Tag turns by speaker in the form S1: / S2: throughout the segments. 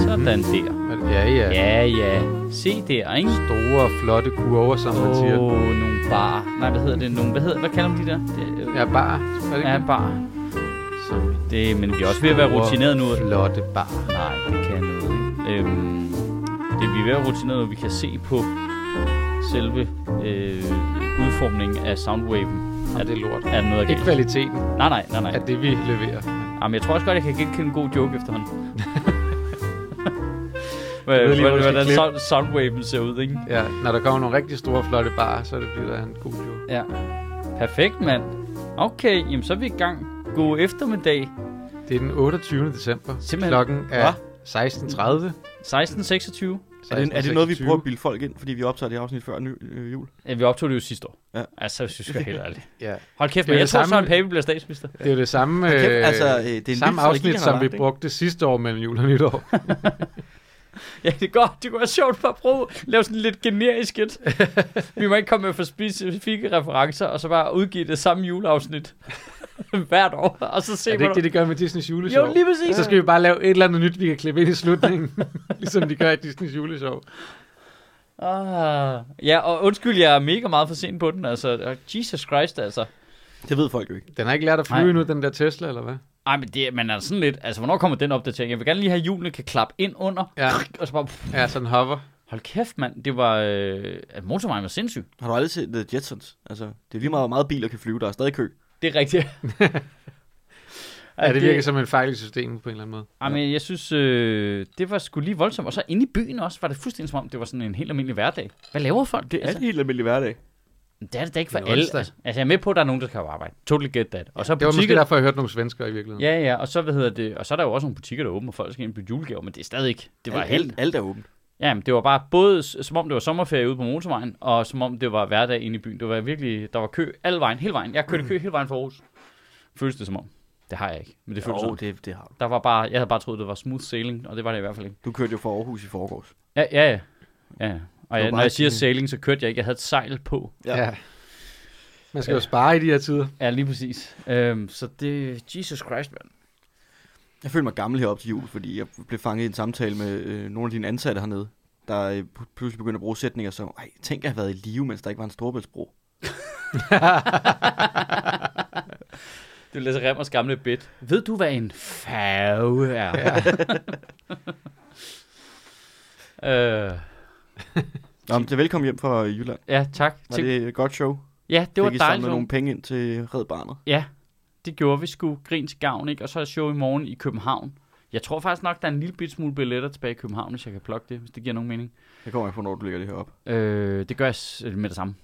S1: Sådan der.
S2: Ja, ja. ja.
S1: Ja, ja. Se der, ikke?
S2: Store, flotte kurver, som man siger.
S1: Åh, oh, nogle bar. Nej, hvad hedder det? Nogle, hvad, hedder, hvad kalder man de der? Det, øh,
S2: Ja, bar. Er det
S1: ja,
S2: ikke?
S1: bar. Det, men vi er også ved at være
S2: Store,
S1: rutineret nu.
S2: Flotte bar.
S1: Nej, vi kan noget. ikke? Øhm, det, vi er ved at være rutineret nu. Vi kan se på selve øh, udformningen af soundwaven. Er
S2: det er lort.
S1: Er der noget
S2: Ikke
S1: galt?
S2: kvaliteten
S1: Nej, nej, nej,
S2: af
S1: nej.
S2: det, vi leverer.
S1: Jamen, jeg tror også godt, jeg kan genkende en god joke efterhånden.
S2: ved
S1: Hvordan
S2: lige, hvor du skal
S1: hvordan
S2: klippe.
S1: sound- soundwaven ser ud, ikke?
S2: Ja, når der kommer nogle rigtig store, flotte bar, så er det bliver der en god joke.
S1: Ja. Perfekt, mand. Okay, jamen så er vi i gang. God eftermiddag.
S2: Det er den 28. december.
S1: Simpelthen.
S2: Klokken er
S3: Hva?
S2: 16.30.
S1: 1626.
S3: Er det, er det noget, vi prøver at bilde folk ind, fordi vi optager det afsnit før ny, øh, jul?
S1: Ja, vi optog det jo sidste år.
S3: Ja.
S1: Altså, synes jeg helt ærligt.
S2: Ja.
S1: Hold kæft,
S2: Det er
S1: men jeg
S2: det
S1: tror,
S2: samme-
S1: Søren Pape bliver statsminister.
S2: Det er jo det samme,
S3: Hold kæft,
S2: øh,
S3: altså, øh, det er en
S2: samme
S3: vild strategi,
S2: afsnit,
S3: han har
S2: som vi
S3: lagt, ikke?
S2: brugte sidste år mellem jul og nytår.
S1: Ja, det går. Det kunne være sjovt bare at prøve at lave sådan lidt generisk et. Vi må ikke komme med for specifikke referencer, og så bare udgive det samme juleafsnit hvert år, og så se,
S2: er det ikke
S1: hvornår-
S2: det, de gør med Disneys juleshow?
S1: Jo, lige præcis.
S2: Så skal vi bare lave et eller andet nyt, vi kan klippe ind i slutningen, ligesom de gør i Disneys juleshow.
S1: Ah, ja, og undskyld, jeg er mega meget for sent på den. Altså, Jesus Christ, altså.
S3: Det ved folk jo ikke.
S2: Den har ikke lært at
S1: Nej.
S2: flyve endnu, den der Tesla, eller hvad?
S1: Ej, men det, man er sådan lidt... Altså, hvornår kommer den opdatering? Jeg vil gerne lige have, at hjulene kan klappe ind under.
S2: Ja.
S1: Og så bare... Pff,
S2: Ja, sådan hover.
S1: hold kæft, mand. Det var... Øh, at motorvejen var sindssyg.
S3: Har du aldrig set The Jetsons? Altså, det er lige meget, hvor meget biler kan flyve, der er stadig kø.
S1: Det er rigtigt.
S2: Ja, det virker som en fejl i systemet på en eller anden måde.
S1: Ej, men jeg synes, øh, det var sgu lige voldsomt. Og så inde i byen også, var det fuldstændig som om, det var sådan en helt almindelig hverdag. Hvad laver folk?
S3: Det er altså,
S1: altså,
S3: en helt almindelig hverdag.
S1: det er det da ikke for
S2: Det er
S1: alle.
S2: onsdag.
S1: Altså, altså, jeg er med på, at der er nogen, der skal på arbejde. Totally get that. Og så
S2: Det var måske
S1: butikker...
S2: derfor, jeg hørte nogle svenskere i virkeligheden.
S1: Ja, ja, og så, hvad hedder det, og så er der jo også nogle butikker, der er åbne, og folk skal ind på julegaver, men det er stadig ikke. Det var
S3: alt,
S1: helt.
S3: alt, alt er åbent.
S1: Ja, men det var bare både, s- som om det var sommerferie ude på motorvejen, og som om det var hverdag inde i byen. Det var virkelig, der var kø alle vejen, hele vejen. Jeg kørte i kø hele vejen fra Aarhus. Føles det som om. Det har jeg ikke, men det føles
S3: Jo,
S1: sådan.
S3: det, det har du.
S1: Der var bare, jeg havde bare troet, det var smooth sailing, og det var det i hvert fald ikke.
S3: Du kørte jo fra Aarhus i forgårs.
S1: Ja, ja, ja. ja. ja. Og
S3: Det
S1: jeg, når
S3: var bare
S1: jeg siger
S3: sådan-
S1: sailing, så kørte jeg ikke. Jeg havde et sejl på.
S3: Ja.
S2: ja. Man skal jo spare i de her tider.
S1: Ja, lige præcis. Øhm, så det, Jesus Christ, mand.
S3: Jeg føler mig gammel herop til jul, fordi jeg blev fanget i en samtale med øh, nogle af dine ansatte hernede, der øh, pl- pludselig begyndte at bruge sætninger som, ej, tænk, jeg har været i live, mens der ikke var en storbæltsbro.
S1: Det er Lasse Remmers gamle bit. Ved du, hvad en fave er? Ja, øh,
S3: Nå, men, så velkommen hjem fra øh, Jylland.
S1: ja tak.
S3: Var
S1: Til-
S3: det et godt show?
S1: ja, det var
S3: Fik I
S1: dejligt.
S3: samlet nogle penge ind til Red Barnet?
S1: Ja, det gjorde vi sgu. Grin til gavn, ikke? Og så er show i morgen i København. Jeg tror faktisk nok, der er en lille bit smule billetter tilbage i København, hvis jeg kan plukke det, hvis det giver nogen mening.
S3: Jeg kommer ikke på, når du lægger det her op.
S1: Øh, det gør jeg s- med det samme.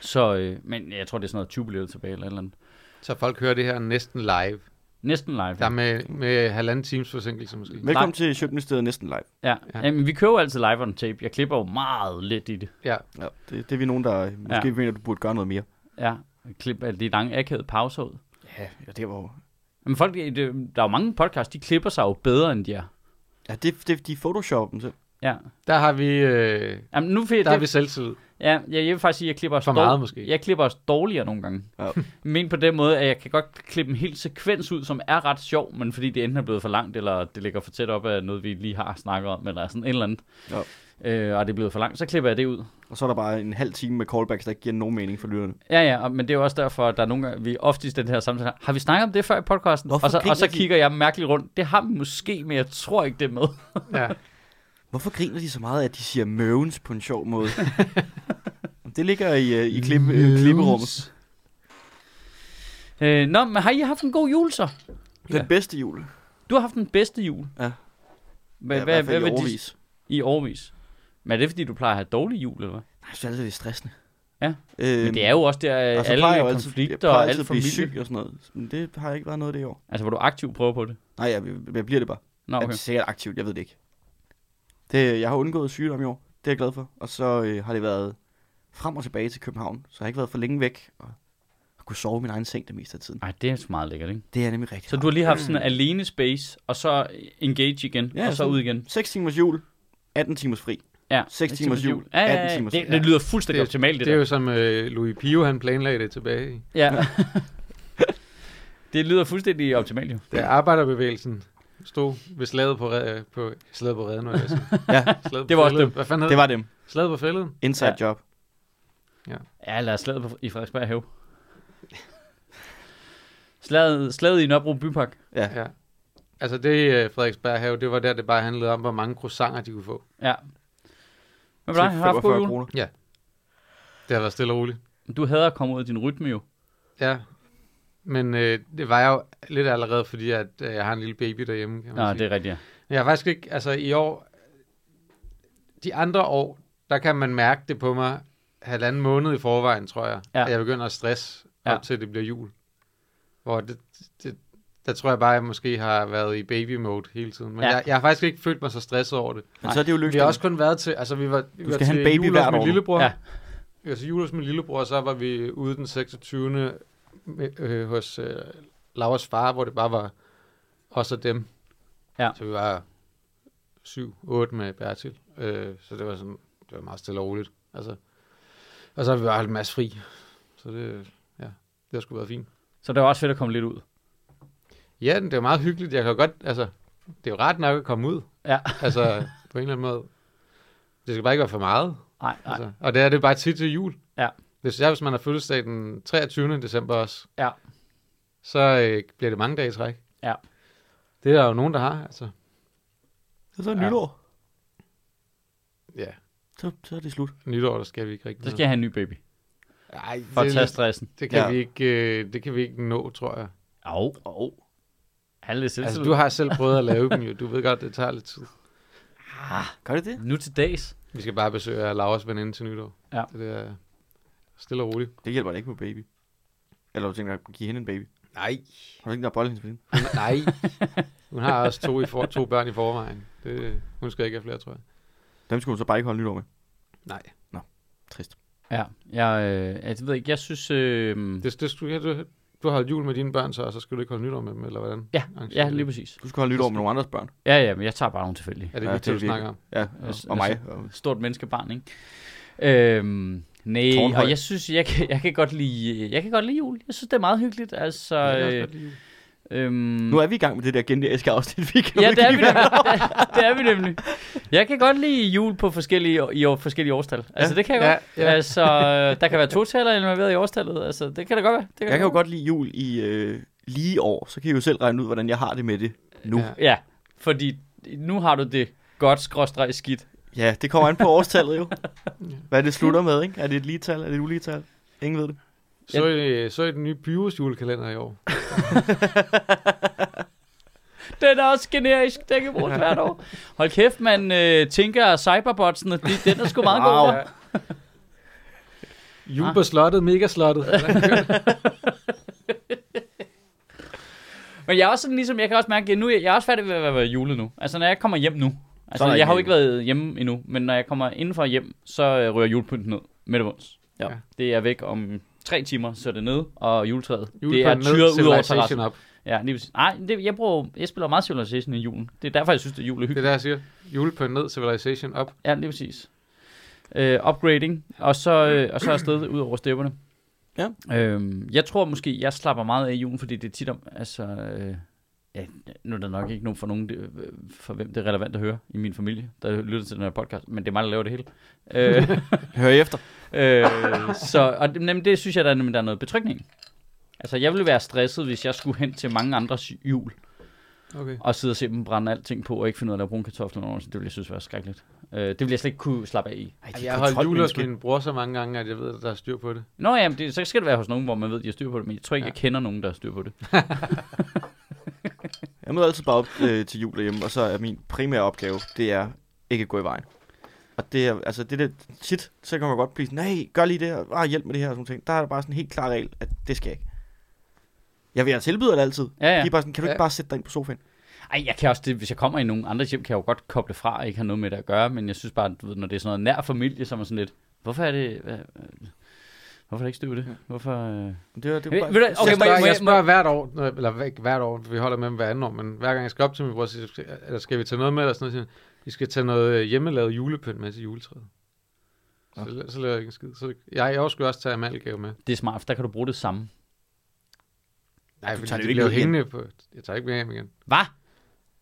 S1: Så, øh, men jeg tror, det er sådan noget 20 billetter tilbage eller et eller andet.
S2: Så folk hører det her næsten live.
S1: Næsten live.
S2: Der er med, med halvanden times forsinkelse måske.
S3: Velkommen Nej. til Sjøtministeriet næsten live.
S1: Ja,
S2: Ja.
S1: ja. Jamen, vi kører jo altid live on tape. Jeg klipper jo meget lidt i det.
S2: Ja,
S3: Ja, det, det er vi nogen, der øh, måske ja. mener, du burde gøre noget mere.
S1: Ja, jeg klipper alle de lange akavede pauser ud.
S3: Ja, ja det var jo...
S1: Men folk, det, der er jo mange podcasts, de klipper sig jo bedre, end de er.
S3: Ja, det, det, de photoshoper dem selv.
S1: Ja.
S2: der har vi, øh,
S1: Jamen, nu fik,
S2: der har
S1: det,
S2: vi selvtillid.
S1: ja, jeg, jeg vil faktisk sige, at jeg klipper os
S2: For
S1: dår-
S2: meget måske.
S1: Jeg klipper os dårligere nogle gange.
S3: Ja.
S1: Men på den måde, at jeg kan godt klippe en hel sekvens ud, som er ret sjov, men fordi det enten er blevet for langt, eller det ligger for tæt op af noget, vi lige har snakket om, eller sådan et eller andet,
S3: Ja.
S1: øh, og det er blevet for langt, så klipper jeg det ud.
S3: Og så er der bare en halv time med callbacks, der ikke giver nogen mening for lytterne.
S1: Ja, ja, og, men det er jo også derfor, at der er nogle gange, vi oftest i den her samtale, her, har vi snakket om det før i podcasten?
S3: Hvorfor
S1: og så, og
S3: griner
S1: så
S3: de?
S1: kigger jeg mærkeligt rundt. Det har vi måske, men jeg tror ikke, det er med.
S2: Ja.
S3: Hvorfor griner de så meget, at de siger møvens på en sjov måde? det ligger i, øh, i klip, øh, klipperummet.
S1: Øh, nå, men har I haft en god jul så?
S3: Den
S1: Ja.
S3: bedste jul.
S1: Du har haft den bedste jul.
S3: Ja.
S1: Hvad,
S3: ja,
S1: hvad,
S3: i hvert
S1: hvad,
S3: fald
S1: hvad
S3: i
S1: vil de-
S3: overvis.
S1: I årvis. Men er det, fordi du plejer at have dårlig jul, eller hvad?
S3: Jeg synes altid, det er stressende.
S1: Ja,
S3: Øhm,
S1: Men det er jo også der,
S3: og
S1: altså,
S3: så plejer jeg jo
S1: alle
S3: altid- jeg
S1: konflikter
S3: plejer
S1: og
S3: altid
S1: alt
S3: at blive
S1: familie.
S3: syg og sådan noget. Men det har ikke været noget af det i år.
S1: Altså, hvor du aktivt prøver på det.
S3: Nej, jeg, jeg bliver det bare.
S1: Nå, Ah,
S3: Okay.
S1: okay.
S3: Jeg er sikkert aktivt, jeg ved det ikke. Det, jeg har undgået sygdom i år, det er jeg glad for. Og så øh, har det været frem og tilbage til København, så jeg har ikke været for længe væk. Og har kunne sove i min egen seng det meste af tiden.
S1: Ej, det er så meget lækkert, ikke?
S3: Det er nemlig rigtigt.
S1: Så du har lige haft sådan alene space, og så engage igen,
S3: Mm. Ja,
S1: og så
S3: sådan.
S1: ud igen.
S3: 6 timers jul, 18 timers fri.
S1: Ja.
S3: 6 timers jul,
S1: Ja, ja,
S3: 18
S1: ja.
S3: timers
S1: Det,
S3: fri.
S1: det lyder fuldstændig
S2: Det-
S1: optimalt, det,
S2: Det er
S1: der.
S2: jo som øh, Louis Pio, han planlagde det tilbage i.
S1: Ja. det lyder fuldstændig optimalt, jo.
S2: Da arbejderbevægelsen stod ved slaget på, red- på slaget på redden, var det,
S3: Ja.
S2: slaget
S1: Det var også
S2: fælden.
S1: dem.
S2: Hvad fanden hed
S3: Det var dem.
S2: Slaget på fælden?
S3: Inside
S1: Ja.
S3: job.
S1: Ja, lad os slaget på, i Frederiksberg Have. slaget, slaget i Nørrebro Bypark.
S3: Ja.
S2: Ja. Altså det øh, Frederiksberg have, det var der, det bare handlede om, hvor mange croissanter de kunne få.
S1: Ja. Hvad var det? Har du haft god jul?
S3: kroner.
S2: Det har været stille og roligt.
S1: Du hader at komme ud af din rytme, jo.
S2: Ja. Men øh, det var jeg jo lidt allerede, fordi at, øh, jeg har en lille baby derhjemme. Kan man
S1: Nej,
S2: sige.
S1: det er rigtigt. ja.
S2: Jeg har faktisk ikke, altså i år, de andre år, der kan man mærke det på mig halvanden måned i forvejen, tror jeg.
S1: Ja.
S2: Ja. At jeg begynder at stresse,
S1: Ja.
S2: ja. op til det bliver jul. Hvor det, det, der tror jeg bare, at jeg måske har været i baby mode hele tiden. Men
S1: Ja.
S2: ja. jeg, jeg, har faktisk ikke følt mig så stresset over det.
S3: Men så er det jo
S2: Vi
S3: løsningen.
S2: har også kun været til, altså vi var, vi
S3: Du
S2: var
S3: skal
S2: til
S3: have en baby
S2: jul
S3: hvert
S2: hos min
S3: år.
S2: lillebror.
S1: Ja.
S2: Ja. Vi var til jul hos min lillebror, og så var vi ude den 26. Med, øh, hos øh, Lauras far, hvor det bare var os og dem.
S1: Ja.
S2: Så vi var 7-8 med Bertil. Øh, så det var sådan, det var meget stille og roligt. Altså, og så har vi bare holdt en masse fri. Så det, ja, det har sgu været fint.
S1: Så det var også fedt at komme lidt ud.
S2: Ja, det var meget hyggeligt. Jeg kan jo godt, altså, det er jo ret nok at komme ud.
S1: Ja.
S2: Altså, på en eller anden måde. Det skal bare ikke være for meget.
S1: Nej, nej.
S2: Altså, og det er det bare tit til jul.
S1: Ja.
S2: Hvis, jeg, hvis man har fødselsdag den 23. december også,
S1: Ja.
S2: så øh, bliver det mange dage i træk.
S1: Ja.
S2: Det er der jo nogen, der har. Altså.
S3: Så er det
S2: Ja.
S3: nytår.
S2: Ja,
S3: Så, så er det slut.
S2: nytår, der skal vi ikke rigtig
S1: Så skal jeg have en ny baby.
S2: Ej,
S1: For at
S2: det,
S1: tage
S2: det,
S1: stressen.
S2: det, kan
S3: Ja.
S2: ja. vi ikke, øh, det kan vi ikke nå, tror jeg.
S1: Au.
S3: Oh.
S1: Han er lidt
S2: Altså,
S1: selvtillid.
S2: du har selv prøvet at lave dem jo. Du ved godt, det tager lidt tid.
S3: Gør det det?
S1: Nu til dags.
S2: Vi skal bare besøge Lauras veninde til nytår.
S1: Ja.
S2: Så det er stille og roligt.
S3: Det hjælper da ikke på baby. Eller du tænker, at give hende en baby.
S2: Nej.
S3: Har du ikke der bolle hendes på hende?
S2: Hun, nej. Hun har også to, i for, to børn i forvejen. Det, hun skal ikke have flere, tror jeg.
S3: Dem skulle hun så bare ikke holde nytår med.
S2: Nej.
S3: Trist.
S1: Ja, jeg, øh, jeg ved ikke, jeg synes... Øh,
S2: Det, det skulle, ja, du, du har holdt jul med dine børn, så, og så skal du ikke holde nytår med dem, eller hvordan?
S1: ja,
S2: Arrangere
S1: ja,
S2: det.
S1: lige præcis.
S3: Du skal holde nytår med nogle andres børn.
S1: Ja, ja, men jeg tager bare nogle tilfældige.
S2: Er det
S3: Ja,
S2: ja, det,
S3: det er
S2: du snakker om?
S3: Ja,
S1: Ja,
S3: og,
S1: s- altså, mm.
S3: og mig. Og,
S1: Stort menneskebarn, ikke? Øhm, nej,
S3: Tårnhøj.
S1: og jeg synes, jeg kan, jeg kan godt lide, jeg kan godt lide jul. Jeg synes, det er meget hyggeligt. Altså,
S2: Ja, det er også
S1: øh,
S2: godt lige jul.
S1: øhm,
S3: nu er vi i gang med det der generiske afsnit, vi kan
S1: Ja, det er, vi
S3: udgive.
S1: nemlig. Det, det er vi nemlig. Jeg kan godt lide jul på forskellige, år- i år, forskellige årstal. Altså, det kan jeg
S2: Ja,
S1: godt.
S2: ja.
S1: Altså, der kan være totaler involveret i årstallet. Altså, det kan da godt være. Det
S3: Jeg kan jo godt lide jul i øh, lige år, så kan I jo selv regne ud, hvordan jeg har det med det nu. Ja,
S2: Ja.
S1: Ja, fordi nu har du det godt, skråstreg skidt.
S3: ja det kommer an på årstallet jo. Hvad det slutter med, ikke? Er det et lige tal? Er det et ulige tal? Ingen ved det.
S2: Så, I, så I den nye Byros julekalender i år.
S1: Den er også generisk, den kan bruges hvert år. Hold kæft, man øh, tænker at cyberbotsene, de, den er sgu meget wow. god.
S3: Wow.
S2: Jul
S1: Ah.
S2: på slottet, mega slottet.
S1: Men jeg er også sådan ligesom, jeg kan også mærke, at nu, er jeg jeg er også færdig ved at være- være julet nu. Altså, når jeg kommer hjem nu. Altså,
S3: er der
S1: jeg
S3: ikke
S1: har jo
S3: jul.
S1: ikke været hjemme endnu, men når jeg kommer indenfor hjem, så øh, ryger julepynten ned med det bunds. Ja.
S2: Ja.
S1: Det er væk om tre timer, så er det ned, og juletræet,
S2: Jul
S1: det er tyret ud over terrassen.
S2: op.
S1: Ja, lige præcis. Nej, det, jeg, bruger, jeg spiller meget Civilization i julen. Det er derfor, jeg synes, det er jul er
S2: Det er
S1: hyggeligt.
S2: der, jeg siger. Jul på ned, civilization op.
S1: Ja, lige præcis. Øh, upgrading, og så, øh, og så afsted ud over stepperne.
S3: Ja.
S1: Øhm, jeg tror måske, jeg slapper meget af i julen, fordi det er tit om, altså, øh, ja, nu er der nok ikke nogen for nogen, det, øh, for hvem det er relevant at høre i min familie, der lytter til den her podcast, men det er mig, der laver det hele. Øh,
S3: Hør I efter.
S1: øh, så, og det, nemlig, det synes jeg, der er, nemlig, der er noget betrygning. i. Altså, jeg ville være stresset, hvis jeg skulle hen til mange andres jul,
S2: Okay.
S1: og sidde og se dem brænde alting på, og ikke finde ud af at lave brune kartofler over, så det ville jeg synes var skrækkeligt. Øh, det ville jeg slet ikke kunne slappe af i.
S3: Ej, de
S2: Ej,
S3: er
S2: jeg har holdt jul hos
S3: kontrolmennesker.
S2: min bror så mange gange, at jeg ved, at der er styr på det.
S1: Nå ja, men det, så skal det være hos nogen, hvor man ved, at de har styr på det, men jeg tror ikke, ja. jeg kender nogen, der har styr på det.
S3: Jeg møder altid bare op øh, til jul derhjemme, og så er min primære opgave, det er ikke at gå i vejen. Og det er, altså det der, tit, så kan man godt blive sådan, nej, gør lige det her, ah, hjælp med det her og sådan nogle ting. Der er der bare sådan en helt klar regel, at det skal jeg ikke. Jeg vil altså tilbyde det altid.
S1: Ja, ja.
S3: De er bare sådan, kan du ikke
S2: Ja.
S3: bare sætte dig ind på sofaen?
S1: Ej, jeg kan også det, hvis jeg kommer i nogen andres hjem, kan jeg jo godt koble fra og ikke have noget med det at gøre, men jeg synes bare, du ved, når det er sådan noget nær familie, som er sådan lidt, hvorfor er det, hvad, øh, hvorfor er det ikke styr på det? Hvorfor, øh...
S3: Men Det, er- det
S1: Ved-
S3: er bare,
S1: ved du hvad,
S2: Okay,
S1: Okay, må
S2: jeg
S1: jeg-
S2: spørger,
S1: må
S2: jeg
S1: jeg-
S2: spørger hvert år, når- eller ikke hvert år, for vi holder med dem hver anden år, men hver gang jeg skal op til min bror, så siger jeg, "Skal- eller skal vi tage noget med, eller sådan noget, siger han, vi skal tage noget øh, hjemmelavet julepynt med til juletræet. Så, la- så laver jeg ikke en skid. Så, jeg, jeg skulle også tage amalgave med.
S1: Det er smart, for der kan du bruge det samme.
S2: Nej,
S3: Du
S2: fordi
S3: tager det
S2: de
S3: jo
S2: bliver
S3: ikke med hjem.
S2: hængende på. Jeg tager ikke med hjem igen.
S1: Hvad?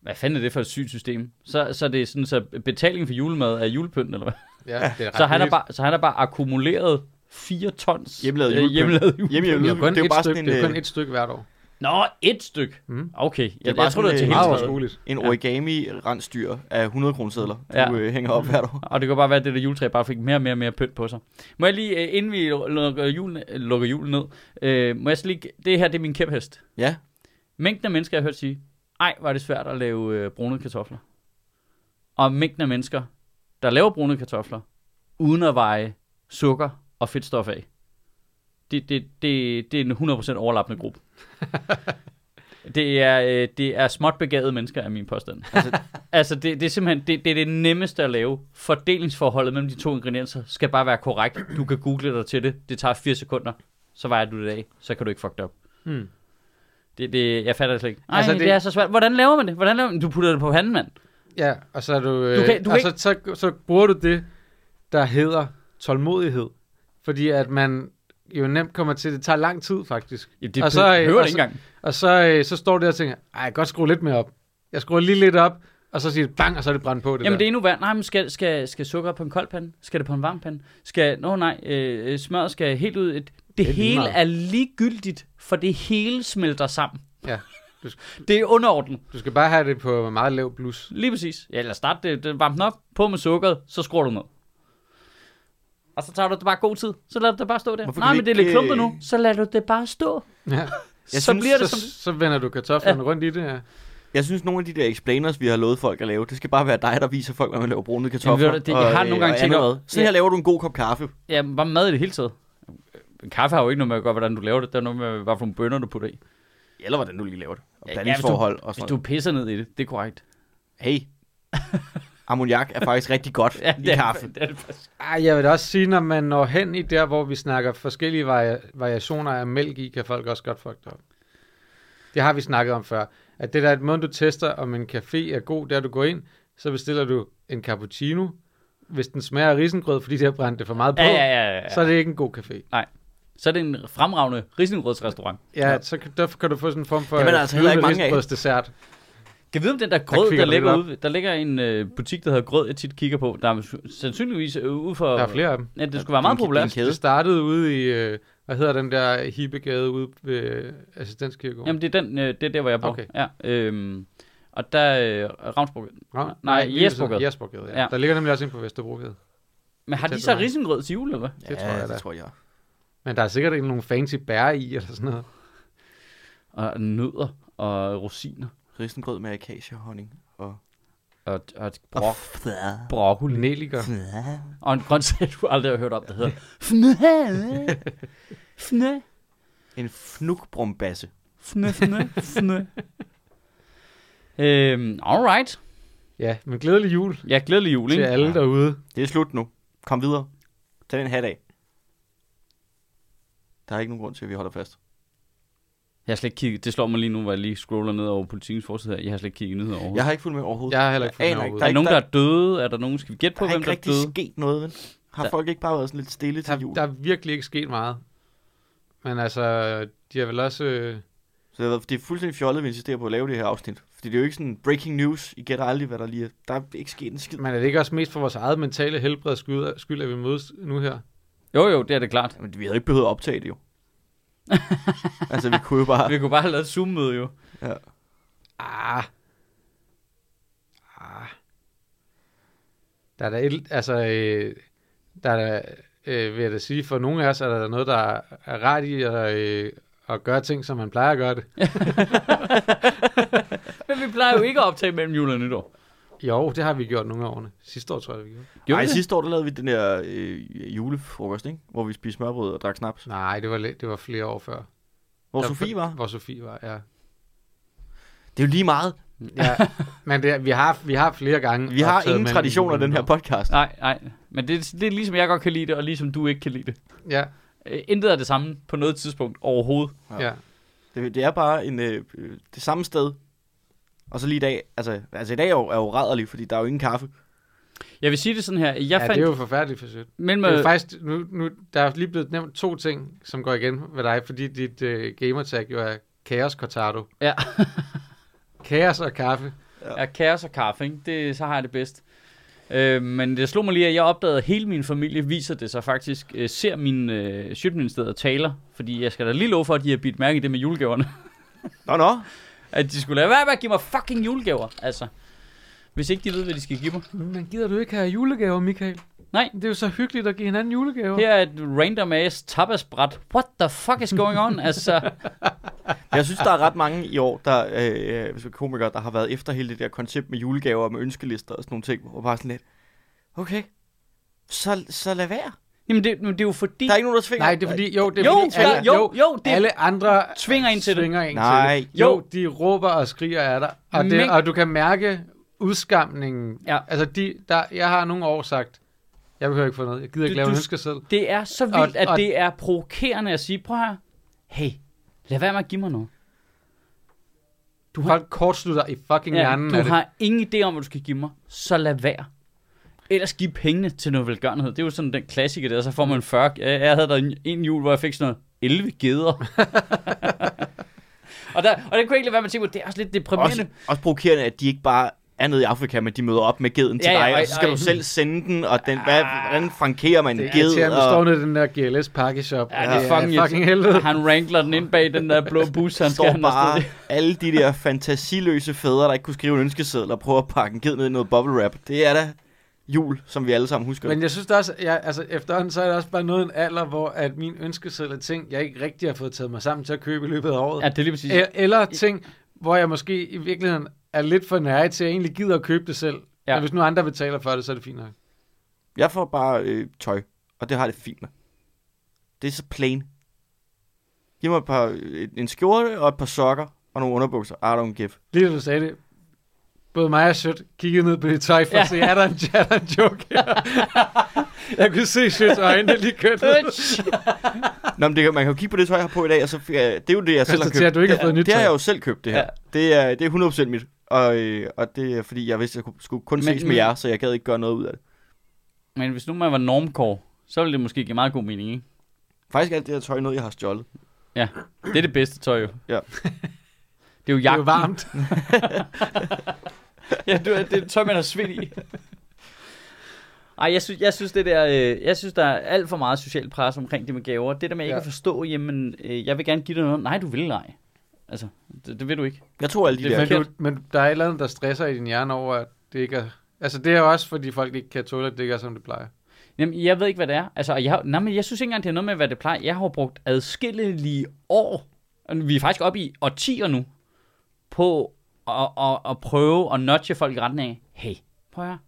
S1: Hvad fanden er det for et sygt system? Så, så det er sådan, så betaling for julemad er julepynten, eller hvad?
S2: Ja, det er ret
S1: Så han, er
S2: billigt.
S1: bare, så han er bare akkumuleret 4 tons
S3: Hjemmelavet
S1: øh,
S3: julepynt.
S1: hjemmelavet julepynt.
S3: Hjemmelavet
S2: Det er jo kun,
S3: Det er jo
S2: et,
S3: bare
S2: stykke,
S3: sådan en,
S2: det er jo kun
S3: øh,
S2: et stykke hvert år.
S1: Nå, et stykke.
S2: Mm.
S1: Okay, jeg, jeg,
S3: bare
S1: tror, det
S3: sådan,
S1: er til
S3: øh,
S1: hele
S2: Meget
S3: træet.
S2: overskueligt.
S3: en origami-rensdyr af 100 kronersedler, du
S1: Ja.
S3: øh, hænger op hvert år.
S1: Og det kunne bare være, at det der juletræ bare fik mere og mere og mere pynt på sig. Må jeg lige, øh, inden vi lukker julen, øh, lukker julen ned, øh, må jeg så lige, det her det er min kæphest.
S3: Ja,
S1: Mængden af mennesker, jeg har hørt sige, ej, var det svært at lave øh, brunede kartofler. Og mængden af mennesker, der laver brunede kartofler, uden at veje sukker og fedtstof af. Det, det, det, det er en 100% overlappende gruppe. det, er, øh, det er småt begavede mennesker, er min påstand. Altså, altså det, det er simpelthen det, det, er det nemmeste at lave. Fordelingsforholdet mellem de to ingredienser skal bare være korrekt. Du kan google dig til det. Det tager 4 sekunder. Så vejer du det af. Så kan du ikke fuck det op.
S2: Mm.
S1: Det, det, jeg fatter det slet ikke. Ej, altså,
S2: Altså,
S1: det...
S2: det-
S1: det er så svært. Hvordan laver man det? Hvordan laver man Du putter det på panden, mand.
S2: Ja, og så er du... Øh,
S1: Du kan- du
S2: og
S1: kan
S2: så, så, så bruger du det, der hedder tålmodighed. Fordi at man jo nemt kommer til, det tager lang tid faktisk.
S1: Jamen, det
S2: Og så,
S1: så,
S2: øh,
S1: behøver
S2: og
S1: det
S2: så-
S1: ikke engang.
S2: Og så, øh, så står det og tænker, ej, jeg kan godt skrue lidt mere op. Jeg skruer lige lidt op, og så siger det bang, og så er det brændt på det
S1: Jamen, det er
S2: der.
S1: endnu værd. Nej, men skal, skal, skal sukker på en kold pande? Skal det på en varm pande? Skal, nå nej, øh, øh, smøret skal helt ud. Det, det
S2: er lige
S1: hele
S2: meget.
S1: er ligegyldigt, for det hele smelter sammen.
S2: Ja.
S1: Det er underordnet.
S2: Du skal bare have det på meget lav blus.
S1: Lige præcis. Ja, eller start det, det varmt nok, på med sukkeret, så skruer du ned. Og så tager du det bare god tid. Så lader du det bare stå der.
S3: Hvorfor
S1: Nej,
S3: kan vi
S1: men det er lidt
S3: ikke,
S1: klumpet
S3: øh,
S1: nu. Så lader du det bare stå.
S2: Ja.
S1: Jeg så
S3: synes,
S1: bliver det
S2: så,
S1: som...
S2: så vender du kartoflerne ja. rundt i det, ja.
S3: jeg synes, nogle af de der explainers, vi har lovet folk at lave, det skal bare være dig, der viser folk, hvordan man laver brune kartofler. øh,
S1: Jamen, ved du hvad, det- jeg har nogle gange tænkt over-
S3: Så her
S1: Ja.
S3: laver du en god kop kaffe.
S1: Ja, men bare mad i det hele taget. Kaffe har jo ikke noget med at gøre, hvordan du laver det. Det er noget med, hvad for nogle bønner du putter i.
S3: Eller hvordan du lige laver det. Og
S1: Ja, ja,
S3: blandingsforhold og
S1: Hvis
S3: sådan
S1: du
S3: noget.
S1: pisser ned i det, det er korrekt.
S3: Hey, ammoniak er faktisk rigtig godt
S1: Ja,
S3: i
S1: det er,
S3: kaffe.
S1: Det er det faktisk.
S2: Ej, jeg vil da også sige, når man når hen i der, hvor vi snakker forskellige vari- variationer af mælk i, kan folk også godt fuck det op. Det har vi snakket om før. At det der, at måden du tester, om en café er god, der du går ind, så bestiller du en cappuccino. Hvis den smager af risengrød, fordi det har brændt det for meget på,
S1: Ja, ja, ja. ja.
S2: så
S1: Så,
S2: er det ikke en god café.
S1: så er det en fremragende risengrødsrestaurant.
S2: Ja, så kan, derfor kan du få sådan en form for øh,
S3: Dem er der altså heller ikke mange af.
S2: dessert.
S1: Kan vi vide, om den der grød, der, der
S2: kvikker du
S1: ligger
S2: lidt
S1: ude... Der ligger en øh, butik, der hedder Grød, jeg tit kigger på. Der er sandsynligvis øh, ude for...
S2: Der er flere af dem.
S1: Ja, det skulle være meget
S3: Det er en-
S1: populært.
S3: det er en
S2: Det startede ude i, øh, hvad hedder den der hippegade ude ved Assistenskirkegården?
S1: Jamen, det er, den, øh, det er der, hvor jeg bor.
S2: Okay.
S1: Ja, øhm, og der... Øh, Ravnsborg.
S2: Ravn-
S1: nej,
S2: lige ved siden af-
S1: Jespergade.
S2: Jespergade, ja.
S1: Ja.
S2: ja. Der ligger nemlig også en på Vesterbrogade.
S1: Men har de
S2: Tæt
S1: så
S2: ved mig.
S1: risengrød til jul, eller hvad?
S3: Ja,
S2: Det tror jeg da.
S3: det tror jeg.
S2: Men der er sikkert ikke nogen fancy bær i, eller sådan noget.
S1: Og nødder og rosiner
S3: Risengrød med akaciehonning og...
S1: og, og
S3: og
S1: brok,
S3: fnæ-
S1: broccoli.
S2: Nelliker.
S3: fnæ.
S1: Og en grøntsag, du aldrig har hørt om, der hedder fnæ, fnæ,
S3: En fnukbrumbasse.
S1: fnæ, fnæ, fnæ. Øhm, alright.
S2: Ja, men glædelig jul
S1: Ja, glædelig jul,
S2: til
S1: ikke?
S2: alle derude.
S3: Det er slut nu. Kom videre. Tag den hat af. Der er ikke nogen grund til, at vi holder fast.
S1: Jeg har slet ikke kigget, det slår mig lige nu, hvor jeg lige scroller ned over politikens forside her. Jeg har slet ikke kigget nyheder overhovedet.
S3: Jeg har ikke fulgt med overhovedet.
S2: Jeg har heller ikke
S3: Jeg
S2: fundet
S3: aner
S1: der er,
S2: noget ud.
S3: ikke. er
S1: er nogen, der...
S3: der-
S1: er døde. Er der nogen, skal vi gætte på,
S3: der er
S1: hvem
S3: ikke
S1: der er
S3: rigtig
S1: døde?
S3: sket noget, vel? Har
S1: Der-
S3: folk ikke bare været sådan lidt stille til jul?
S2: Der, der er virkelig ikke sket meget. Men altså, de har vel også... Øh,
S3: Så det, har været- det er fuldstændig fjollet, at vi insisterer på at lave det her afsnit. Fordi det er jo ikke sådan breaking news. I gætter aldrig, hvad der lige er. Der er ikke sket en skid.
S2: men er det ikke også mest for vores eget mentale helbred skyld, skyld, at vi mødes nu her?
S1: Jo, jo, det er det klart.
S3: Men vi havde ikke behøvet at optage det jo. altså, vi kunne jo bare...
S1: Vi kunne bare have lavet et Zoom-møde, jo.
S3: Ja.
S2: Ah. Ah. Der er da et, altså, øh, der er da, øh, vil jeg da sige, for nogle af os er der da noget, der er er rart i at, øh, at gøre ting, som man plejer at gøre det.
S1: Men vi plejer jo ikke at optage mellem jul og nytår.
S2: Jo, det har vi gjort nogle af årene. Sidste år tror jeg, vi gjorde.
S1: Gjorde
S3: Nej,
S1: vi det?
S3: sidste år der lavede vi den der øh, julefrokost, ikke? Hvor vi spiste smørbrød og drak snaps.
S2: Nej, det var, lidt- det var flere år før.
S3: Hvor
S2: Der-
S3: Sofie var.
S2: Hvor Sofie var, ja.
S3: Det er jo lige meget.
S2: Mm, ja. Men det, er- vi, har, vi har flere gange...
S3: Vi har
S2: optaget
S3: ingen
S2: mellem
S3: traditioner i den her
S2: jul og
S3: podcast.
S1: Nej, nej. Men det, det er ligesom jeg godt kan lide det, og ligesom du ikke kan lide det.
S2: nytår. Ja,
S1: Øh, Intet er det samme på noget tidspunkt overhovedet.
S2: ja.
S3: Det, det er bare en, øh, øh, det samme sted. Og så lige i dag, altså, altså i dag er jo, er jo rædderlig, fordi der er jo ingen kaffe.
S1: Jeg vil sige det sådan her. Jeg
S2: ja
S1: ja,
S2: det
S1: fandt...
S2: er jo forfærdeligt for sødt.
S1: mellem,
S2: Det er faktisk, nu, nu, der er lige blevet nævnt to ting, som går igen ved dig, fordi dit øh, gamertag jo er Chaos Cortado.
S1: Ja.
S2: Kaos og kaffe.
S1: Ja, kaos og kaffe, ikke? Det, så har jeg det bedst. Øh, men det slog mig lige, at jeg opdagede, at hele min familie viser det sig faktisk, øh, ser min øh, sjøtministeriet taler, fordi jeg skal da lige love for, at de har bidt mærke i det med julegaverne.
S3: Nå, nå.
S1: at de skulle lade være med at give mig fucking julegaver, altså. Hvis ikke de ved, hvad de skal give mig.
S2: Men gider du ikke have julegaver, Michael?
S1: Nej.
S2: Det er jo så hyggeligt at give hinanden julegaver.
S1: Her er et random ass tapasbræt. What the fuck is going on? altså,
S3: Jeg synes, der er ret mange i år, der, øh, hvis man er komikere, der har været efter hele det der koncept med julegaver og med ønskelister og sådan nogle ting. Og bare sådan lidt, okay, så, så lad være.
S1: jamen det, men det er jo fordi...
S3: Der er ikke nogen, der tvinger.
S2: Nej, det er fordi, jo, det er
S1: Jo,
S2: fordi,
S1: ja, jo, jo, det-
S2: alle andre
S1: Tvinger en til det.
S2: tvinger En
S3: Nej.
S2: til det. Jo, de råber og skriger af dig, og,
S1: Men-
S2: det, og du kan mærke udskamningen.
S1: Ja.
S2: Altså, de, der, jeg har nogle år sagt, jeg behøver ikke få noget, jeg gider ikke
S1: Du-
S2: lave
S1: du-
S2: en ønsker selv.
S1: Det er så vildt,
S2: Og-
S1: at
S2: og-
S1: det er provokerende at sige, prøv her, hey, lad være med at give mig noget.
S2: Du har... Folk kortslutter i fucking ja, hjernen
S1: du
S2: af det.
S1: har ingen idé om, hvad du skal give mig, så lad være. Ellers giv pengene til noget velgørenhed. Det er jo sådan den klassiker der, så får man 40. Jeg jeg havde der en- en jul, hvor jeg fik sådan noget 11 geder. og, der, og det kunne jeg ikke lade være med at tænke på, det er også lidt deprimerende.
S3: også, også provokerende, at de ikke bare er nede i Afrika, men de møder op med geden til
S1: Ja, ja,
S3: dig,
S1: ej,
S3: og så skal
S1: ej.
S3: du selv sende den, og den, hvad, hvordan frankerer man
S2: Ah, Det
S3: en
S2: er til,
S3: ged?
S2: at du står
S3: Og
S2: nede i den der GLS pakkeshop.
S1: Ja, det er fucking, Ah,
S2: fucking helvede.
S1: Han wrangler den ind bag den der blå bus, han skal
S3: står
S1: have
S3: bare
S1: afsted.
S3: alle de der fantasiløse fædre, der ikke kunne skrive en ønskeseddel og prøve at pakke en ged ned i noget bubble wrap. Det er da jul, som vi alle sammen husker.
S2: Men jeg synes da også, jeg, altså efterhånden så er der også bare noget en alder, hvor at min ønskeseddel er ting, jeg ikke rigtig har fået taget mig sammen til at købe i løbet af året.
S1: Ja, det er lige præcis.
S2: E- Eller ting, hvor jeg måske i virkeligheden er lidt for nær til, at jeg egentlig gider at købe det selv.
S1: Ja.
S2: Ja. Men hvis nu andre betaler for det, så er det fint nok.
S3: Jeg får bare øh, tøj, og det har jeg det fint med. Det er så plain. Giv mig et par, øh, en skjorte og et par sokker og nogle underbukser. I don't give.
S2: Lige da du sagde det, både mig og Sødt kiggede ned på det tøj for ja.
S1: Ja.
S2: at se, er der en, er der en joke her? jeg kunne se Sødts øjne lige kørt ned.
S3: Nå, men det, kan- man kan jo kigge på det tøj, jeg har på i dag, og så øh, det er jo det, jeg selv har
S2: Konstaterer,
S3: købt.
S2: at du ikke har
S3: det,
S2: fået nyt
S3: det har
S2: tøj.
S3: jeg jo selv købt, det her.
S1: Ja.
S3: Ja. Det, er, det er 100% mit. Og, øh, og det er fordi, jeg vidste, at jeg kunne- skulle kun
S1: Men-
S3: men, ses med
S1: men-
S3: jer, så jeg gad ikke gøre noget ud af det.
S1: Men hvis nu man var normcore, så ville det måske give meget god mening, ikke?
S3: Faktisk er alt det her tøj noget, jeg har stjålet.
S1: Det er det bedste tøj jo.
S3: Ja.
S1: Det er jo
S2: Det er jo
S1: jagten.
S2: varmt.
S1: ja, du, det er tøj, man har svind i. Ej, jeg synes, jeg synes, det der, øh, jeg synes, der er alt for meget social pres omkring det med gaver. Det der med ikke
S2: Ja.
S1: ja. at forstå, jamen, øh, jeg vil gerne give dig noget. Nej, du vil ej. Altså, det, det vil du ikke.
S3: Jeg tror alle de
S1: Det er
S3: der.
S2: Men,
S1: faktisk-
S2: du, men der er et eller andet, der stresser i din hjerne over, at det ikke er... Altså, det er jo også, fordi folk ikke kan tåle, at det ikke er, som det plejer.
S1: Jamen, jeg ved ikke, hvad det er. Altså, og jeg, har- nej, men jeg synes ikke engang, det er noget med, hvad det plejer. Jeg har jo brugt adskillige år, og vi er faktisk oppe i årtier nu, på at, at, at prøve at nudge folk i retning af, hey, prøv at høre.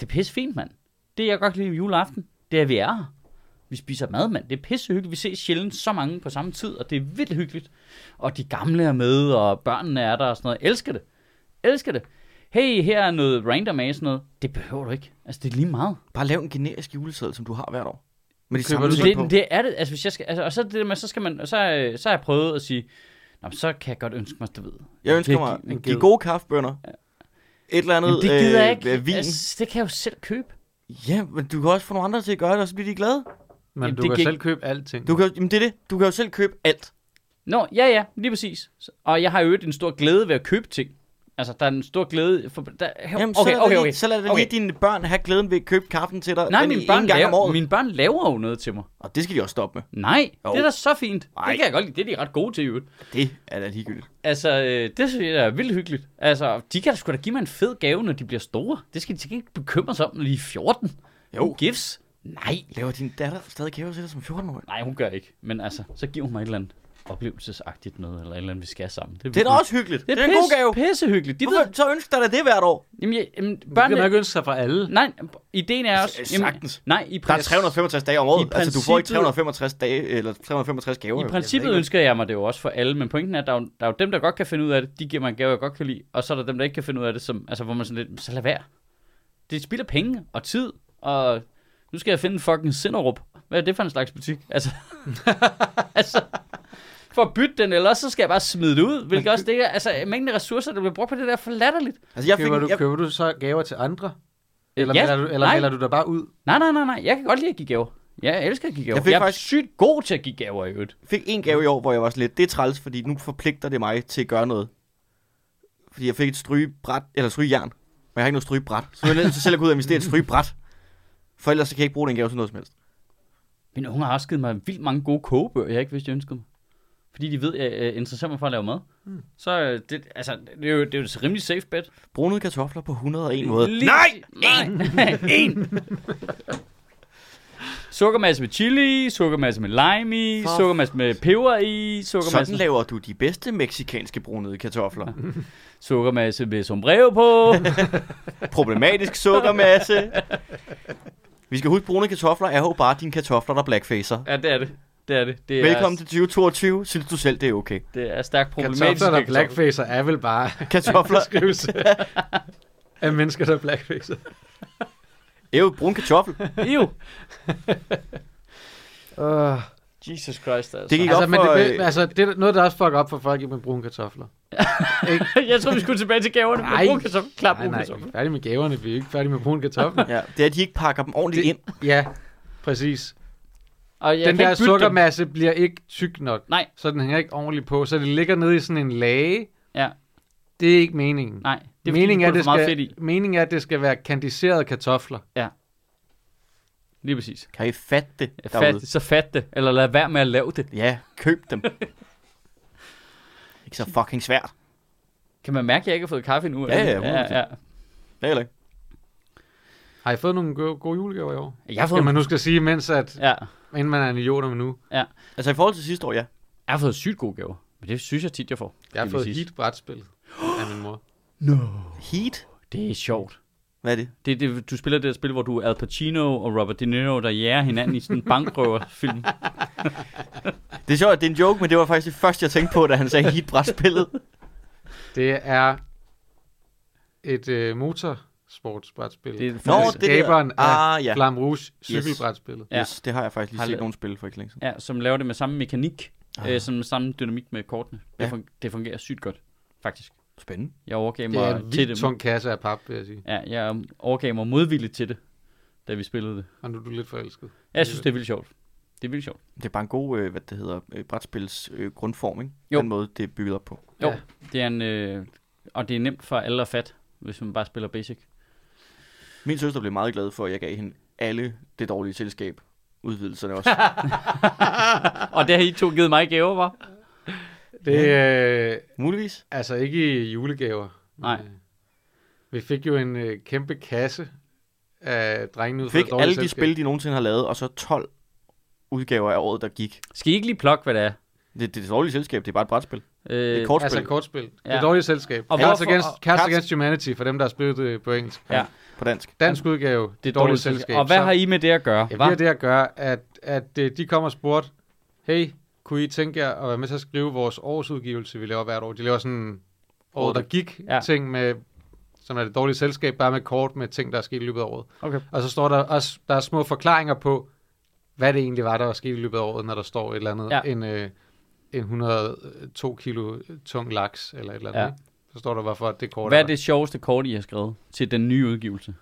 S1: Det er pisse fint, mand. Det, jeg godt kan lide ved juleaften, det er, at vi er her. Vi spiser mad, mand. Det er pisse hyggeligt. Vi ses sjældent så mange på samme tid, og det er vildt hyggeligt. Og de gamle er med, og børnene er der og sådan noget. Jeg elsker det. Jeg elsker det. Hey, her er noget random af sådan noget. Det behøver du ikke. Altså, det er lige meget.
S3: Bare lav en generisk juleseddel, som du har hvert år. Med de
S2: Køber du
S3: samme ting på.
S1: Det, det er det. Altså, hvis jeg skal, altså, og så er det der med, så skal man, så, øh, så har jeg prøvet at sige, Nå, men så kan jeg godt ønske mig, du ved.
S3: Jeg ønsker
S1: det-
S3: mig
S1: det-
S3: de gode kaffebønner. Et eller
S1: Jamen,
S3: andet
S1: det gider jeg
S3: øh,
S1: ikke.
S3: vin.
S1: Altså, det kan jeg jo selv købe.
S3: Ja, men du kan også få nogle andre til at gøre det, og så bliver de glade.
S2: Men
S1: Jamen,
S2: Jamen, du
S1: det
S2: kan
S1: gik-
S2: selv købe alting.
S3: Du kan, jo- jamen det er det. Du kan jo selv købe alt.
S1: Nå, ja, ja, lige præcis. Så- Og jeg har jo en stor glæde ved at købe ting. Altså, der er en stor glæde for... Der,
S3: Jamen, så
S1: okay,
S3: lad det
S1: okay,
S3: lige-
S1: okay.
S3: Så lad det
S1: Okay.
S3: lige dine børn have glæden ved at købe kaffen til dig.
S1: Nej,
S3: den
S1: mine
S3: ene
S1: børn,
S3: gang om
S1: laver,
S3: året.
S1: mine børn laver jo noget til mig.
S3: Og det skal de også stoppe med.
S1: Nej,
S3: Jo.
S1: det er da så fint.
S3: Ej.
S1: Det kan jeg godt lide. Det er de ret gode til, i øvrigt.
S3: Det er da ligegyldigt.
S1: Altså, øh, det synes jeg er vildt hyggeligt. Altså, de kan da sgu da give mig en fed gave, når de bliver store. Det skal de til gengæld ikke bekymre sig om, når de er 14.
S3: Jo.
S1: Who gives? Nej.
S3: Laver din datter stadig kæve til dig som 14 år?
S1: Nej, hun gør ikke. Men altså, så giver hun mig et eller andet. oplevelsesagtigt noget, eller et eller andet, vi skal sammen.
S3: Det er da også hyggeligt. Det er, det er en
S1: pisse,
S3: god gave.
S1: pissehyggeligt. De ved,
S3: Hvorfor, så ønsker der da det hvert år?
S1: jamen, jeg, jamen,
S2: Det kan man
S1: børnene,
S2: ikke ønske sig fra alle.
S1: nej, ideen er også...
S3: S- sagtens.
S1: nej, i
S3: Der er
S1: pres-
S3: 365 dage om året.
S1: I
S3: Altså, du får ikke
S1: princippet-
S3: 365 dage, eller 365 gaver. Altså,
S1: I princippet ønsker jeg mig det jo også for alle, men pointen er, at der er, jo, der er jo dem, der godt kan finde ud af det, de giver mig en gave, jeg godt kan lide, og så er der dem, der ikke kan finde ud af det, som, altså, hvor man sådan lidt, så lad være. Det spilder penge og tid, og nu skal jeg finde en fucking Sinderup. Hvad er det for en slags butik? Altså, altså for at bytte den, eller også så skal jeg bare smide det ud, hvilket også det er, altså mængden af ressourcer, der bliver brugt på det der er for latterligt.
S3: Altså, jeg fik,
S2: Køber du,
S3: jeg,
S2: køber du så gaver til andre? Eller,
S1: ja,
S2: melder, du, eller
S1: nej.
S2: melder du dig bare ud?
S1: Nej, nej, nej, nej, jeg kan godt lide at give gaver. Jeg elsker at give gaver. Jeg,
S3: fik
S1: jeg er
S3: faktisk-
S1: sygt god til at give gaver i øvrigt.
S3: fik en gave i år, hvor jeg var sådan lidt, det er træls, fordi nu forpligter det mig til at gøre noget. Fordi jeg fik et strygebræt, eller strygjern, men jeg har ikke noget strygebræt. Så jeg er nødt til selv at gå ud og investere i et strygebræt. For ellers så kan jeg ikke bruge den gave til noget som helst.
S1: Mine unger har også givet mig vildt mange gode kogebøger, jeg ikke vidste, jeg ønskede mig. Fordi de ved, at jeg øh, interesserer mig for at lave mad. Mm. Så øh, det, altså, det, er jo, det er jo et rimelig safe bet.
S3: Brunede kartofler på 101 måde.
S1: Lige- Nej! En! sukkermasse med chili, sukkermasse med lime i,
S3: For-
S1: sukkermasse med peber i, sukkermasse,
S3: Sådan laver du de bedste meksikanske brunede kartofler.
S1: sukkermasse med sombrero på.
S3: Problematisk sukkermasse. Vi skal huske, brune kartofler er jo bare dine kartofler, der blackfacer.
S1: ja, det er det. Det er det. det er,
S3: Velkommen til 2022. Synes du selv, det er okay?
S1: Det er stærkt problematisk.
S2: Kartofler, der blackfacer, er vel bare
S3: Kartofler
S2: beskrivelse af mennesker, der blackfacer.
S3: er jo brun kartoffel.
S1: Jo.
S2: Uh,
S1: Jesus Christ, altså.
S3: Det gik
S2: altså,
S3: op
S2: men
S3: for,
S2: det,
S3: øh,
S2: altså, det er noget, der også fucker op for folk, ikke med brune kartofler.
S1: jeg tror, vi skulle tilbage til gaverne.
S2: Nej.
S1: Nej. Brug kartoffel. Klar,
S2: Nej,
S1: brug
S2: nej,
S1: kartoffel.
S2: vi er færdige med gaverne, vi er ikke færdige med brune kartofler.
S3: Ja, det er, at de ikke pakker dem ordentligt
S2: Det-
S3: ind.
S2: ja, præcis.
S1: Og jeg
S2: den
S1: kan
S2: der
S1: ikke bytte dem.
S2: sukkermasse dem. bliver ikke tyk nok.
S1: Nej.
S2: Så den hænger ikke ordentligt på. Så det ligger nede i sådan en lage.
S1: Ja.
S2: Det er ikke meningen.
S1: Nej, det er
S2: meningen,
S1: fordi,
S2: er,
S1: de putter
S2: det
S1: for meget fedt
S2: skal,
S1: i.
S2: meningen er, at det skal være kandiserede kartofler.
S1: Lige præcis.
S3: Kan I fatte det
S1: Fat,
S3: derude?
S1: så fat det, eller lad være med at lave det.
S3: Ja, køb dem. ikke så fucking svært.
S1: Kan man mærke, at jeg ikke har fået kaffe endnu?
S3: Ja, ja,
S1: eller? ja,
S3: 100%.
S1: ja.
S3: Det er heller ikke.
S2: Har I fået nogle gode, gode julegaver i år?
S1: Jeg har fået,
S2: Skal man nu skal sige, mens at,
S1: ja,
S2: inden man er en idiot om nu.
S3: Altså i forhold til sidste år, ja.
S1: jeg har fået sygt gode gaver. Men det synes jeg tit, jeg får.
S2: Jeg har
S1: Lige
S2: fået
S1: præcis.
S2: hit brætspil af min mor.
S3: Heat?
S1: Det er sjovt.
S3: Hvad er det?
S1: Det, er det, du spiller det der spil, hvor du er Al Pacino og Robert De Niro, der jager hinanden i sådan en bankrøverfilm.
S3: Det er sjovt, at det er en joke, men det var faktisk det første, jeg tænkte på, da han sagde heatbrætspillet.
S2: Det er et øh, motorsportsbrætspil.
S1: Det er
S2: Af
S1: Nå,
S3: det der.
S2: skaberen af
S3: Ah, ja.
S2: Flam Rouge cykelbrætspillet.
S1: Ja.
S3: Ja. Yes, det har jeg faktisk lige
S1: Har
S3: set
S1: det-
S3: nogle spil for ikke længe siden.
S1: Ja, som laver det med samme mekanik,
S3: Ah.
S1: øh, sådan med samme dynamik med kortene. Det,
S3: Ja.
S1: ja. fun- det fungerer sygt godt, faktisk.
S3: Spændende.
S1: Jeg overgav
S2: Det er
S1: mig
S2: en
S1: til det.
S2: vildt tung kasse af pap, vil jeg sige.
S1: Ja, jeg overgav mig modvilligt til det, da vi spillede det.
S2: Og nu er du lidt forelsket.
S1: Jeg synes, det er vildt sjovt. Det er vildt sjovt.
S3: Det er bare en god, øh, hvad det hedder, øh, brætspils øh, grundform, ikke?
S1: Jo.
S3: Den måde, det er bygget op på.
S1: Jo,
S2: Ja.
S1: ja. det er en, øh, og det er nemt for alle at fatte, hvis man bare spiller basic.
S3: Min søster blev meget glad for, at jeg gav hende alle det dårlige selskab udvidelserne også.
S1: og det har I to givet mig i gaver, var.
S2: Det er øh,
S3: Muligvis.
S2: altså ikke i julegaver.
S1: Nej.
S2: Øh, Vi fik jo en øh, kæmpe kasse af drengene ud
S3: Fik
S2: det dårlige
S3: alle de
S2: selskab.
S3: spil, de nogensinde har lavet, og så 12 udgaver af året, der gik.
S1: Skal I ikke lige plukke, hvad det er?
S3: Det, det, det dårlige selskab, det er bare et brætspil. Det er
S1: Øh,
S3: kortspil.
S2: Altså kortspil. Ja.
S1: Ja.
S2: Det dårlige selskab.
S1: Og
S2: Og Cards,
S1: hvorfor-
S2: against,
S1: og-
S2: Cards
S3: Cards-
S2: Against Humanity, for dem, der har spillet det på engelsk.
S1: Ja.
S3: på dansk.
S2: Dansk udgave, det,
S1: det
S2: det
S1: er dårligt
S2: dårlige
S1: selskab.
S2: selskab.
S1: Og hvad
S2: Så-
S1: har I med det at gøre?
S2: Ja, vi
S1: hva'?
S2: har det at gøre, at, at øh, de kommer og spurgte, hey, kunne I tænke jer at være med til at skrive vores årsudgivelse, vi laver hvert år? De laver sådan året, der gik
S1: Ja.
S2: ja. ting med, som er det dårlige selskab, bare med kort med ting, der er sket i løbet af året.
S1: Okay.
S2: Og så står der også, der er små forklaringer på, hvad det egentlig var, der var sket i løbet af året, når der står et eller andet,
S1: Ja.
S2: ja. en, øh, en 102 kilo tung laks, eller et eller andet.
S1: Ja.
S2: Ja. Så står der, hvorfor det kort
S1: Hvad er
S2: der.
S1: det sjoveste kort, I har skrevet til den nye udgivelse?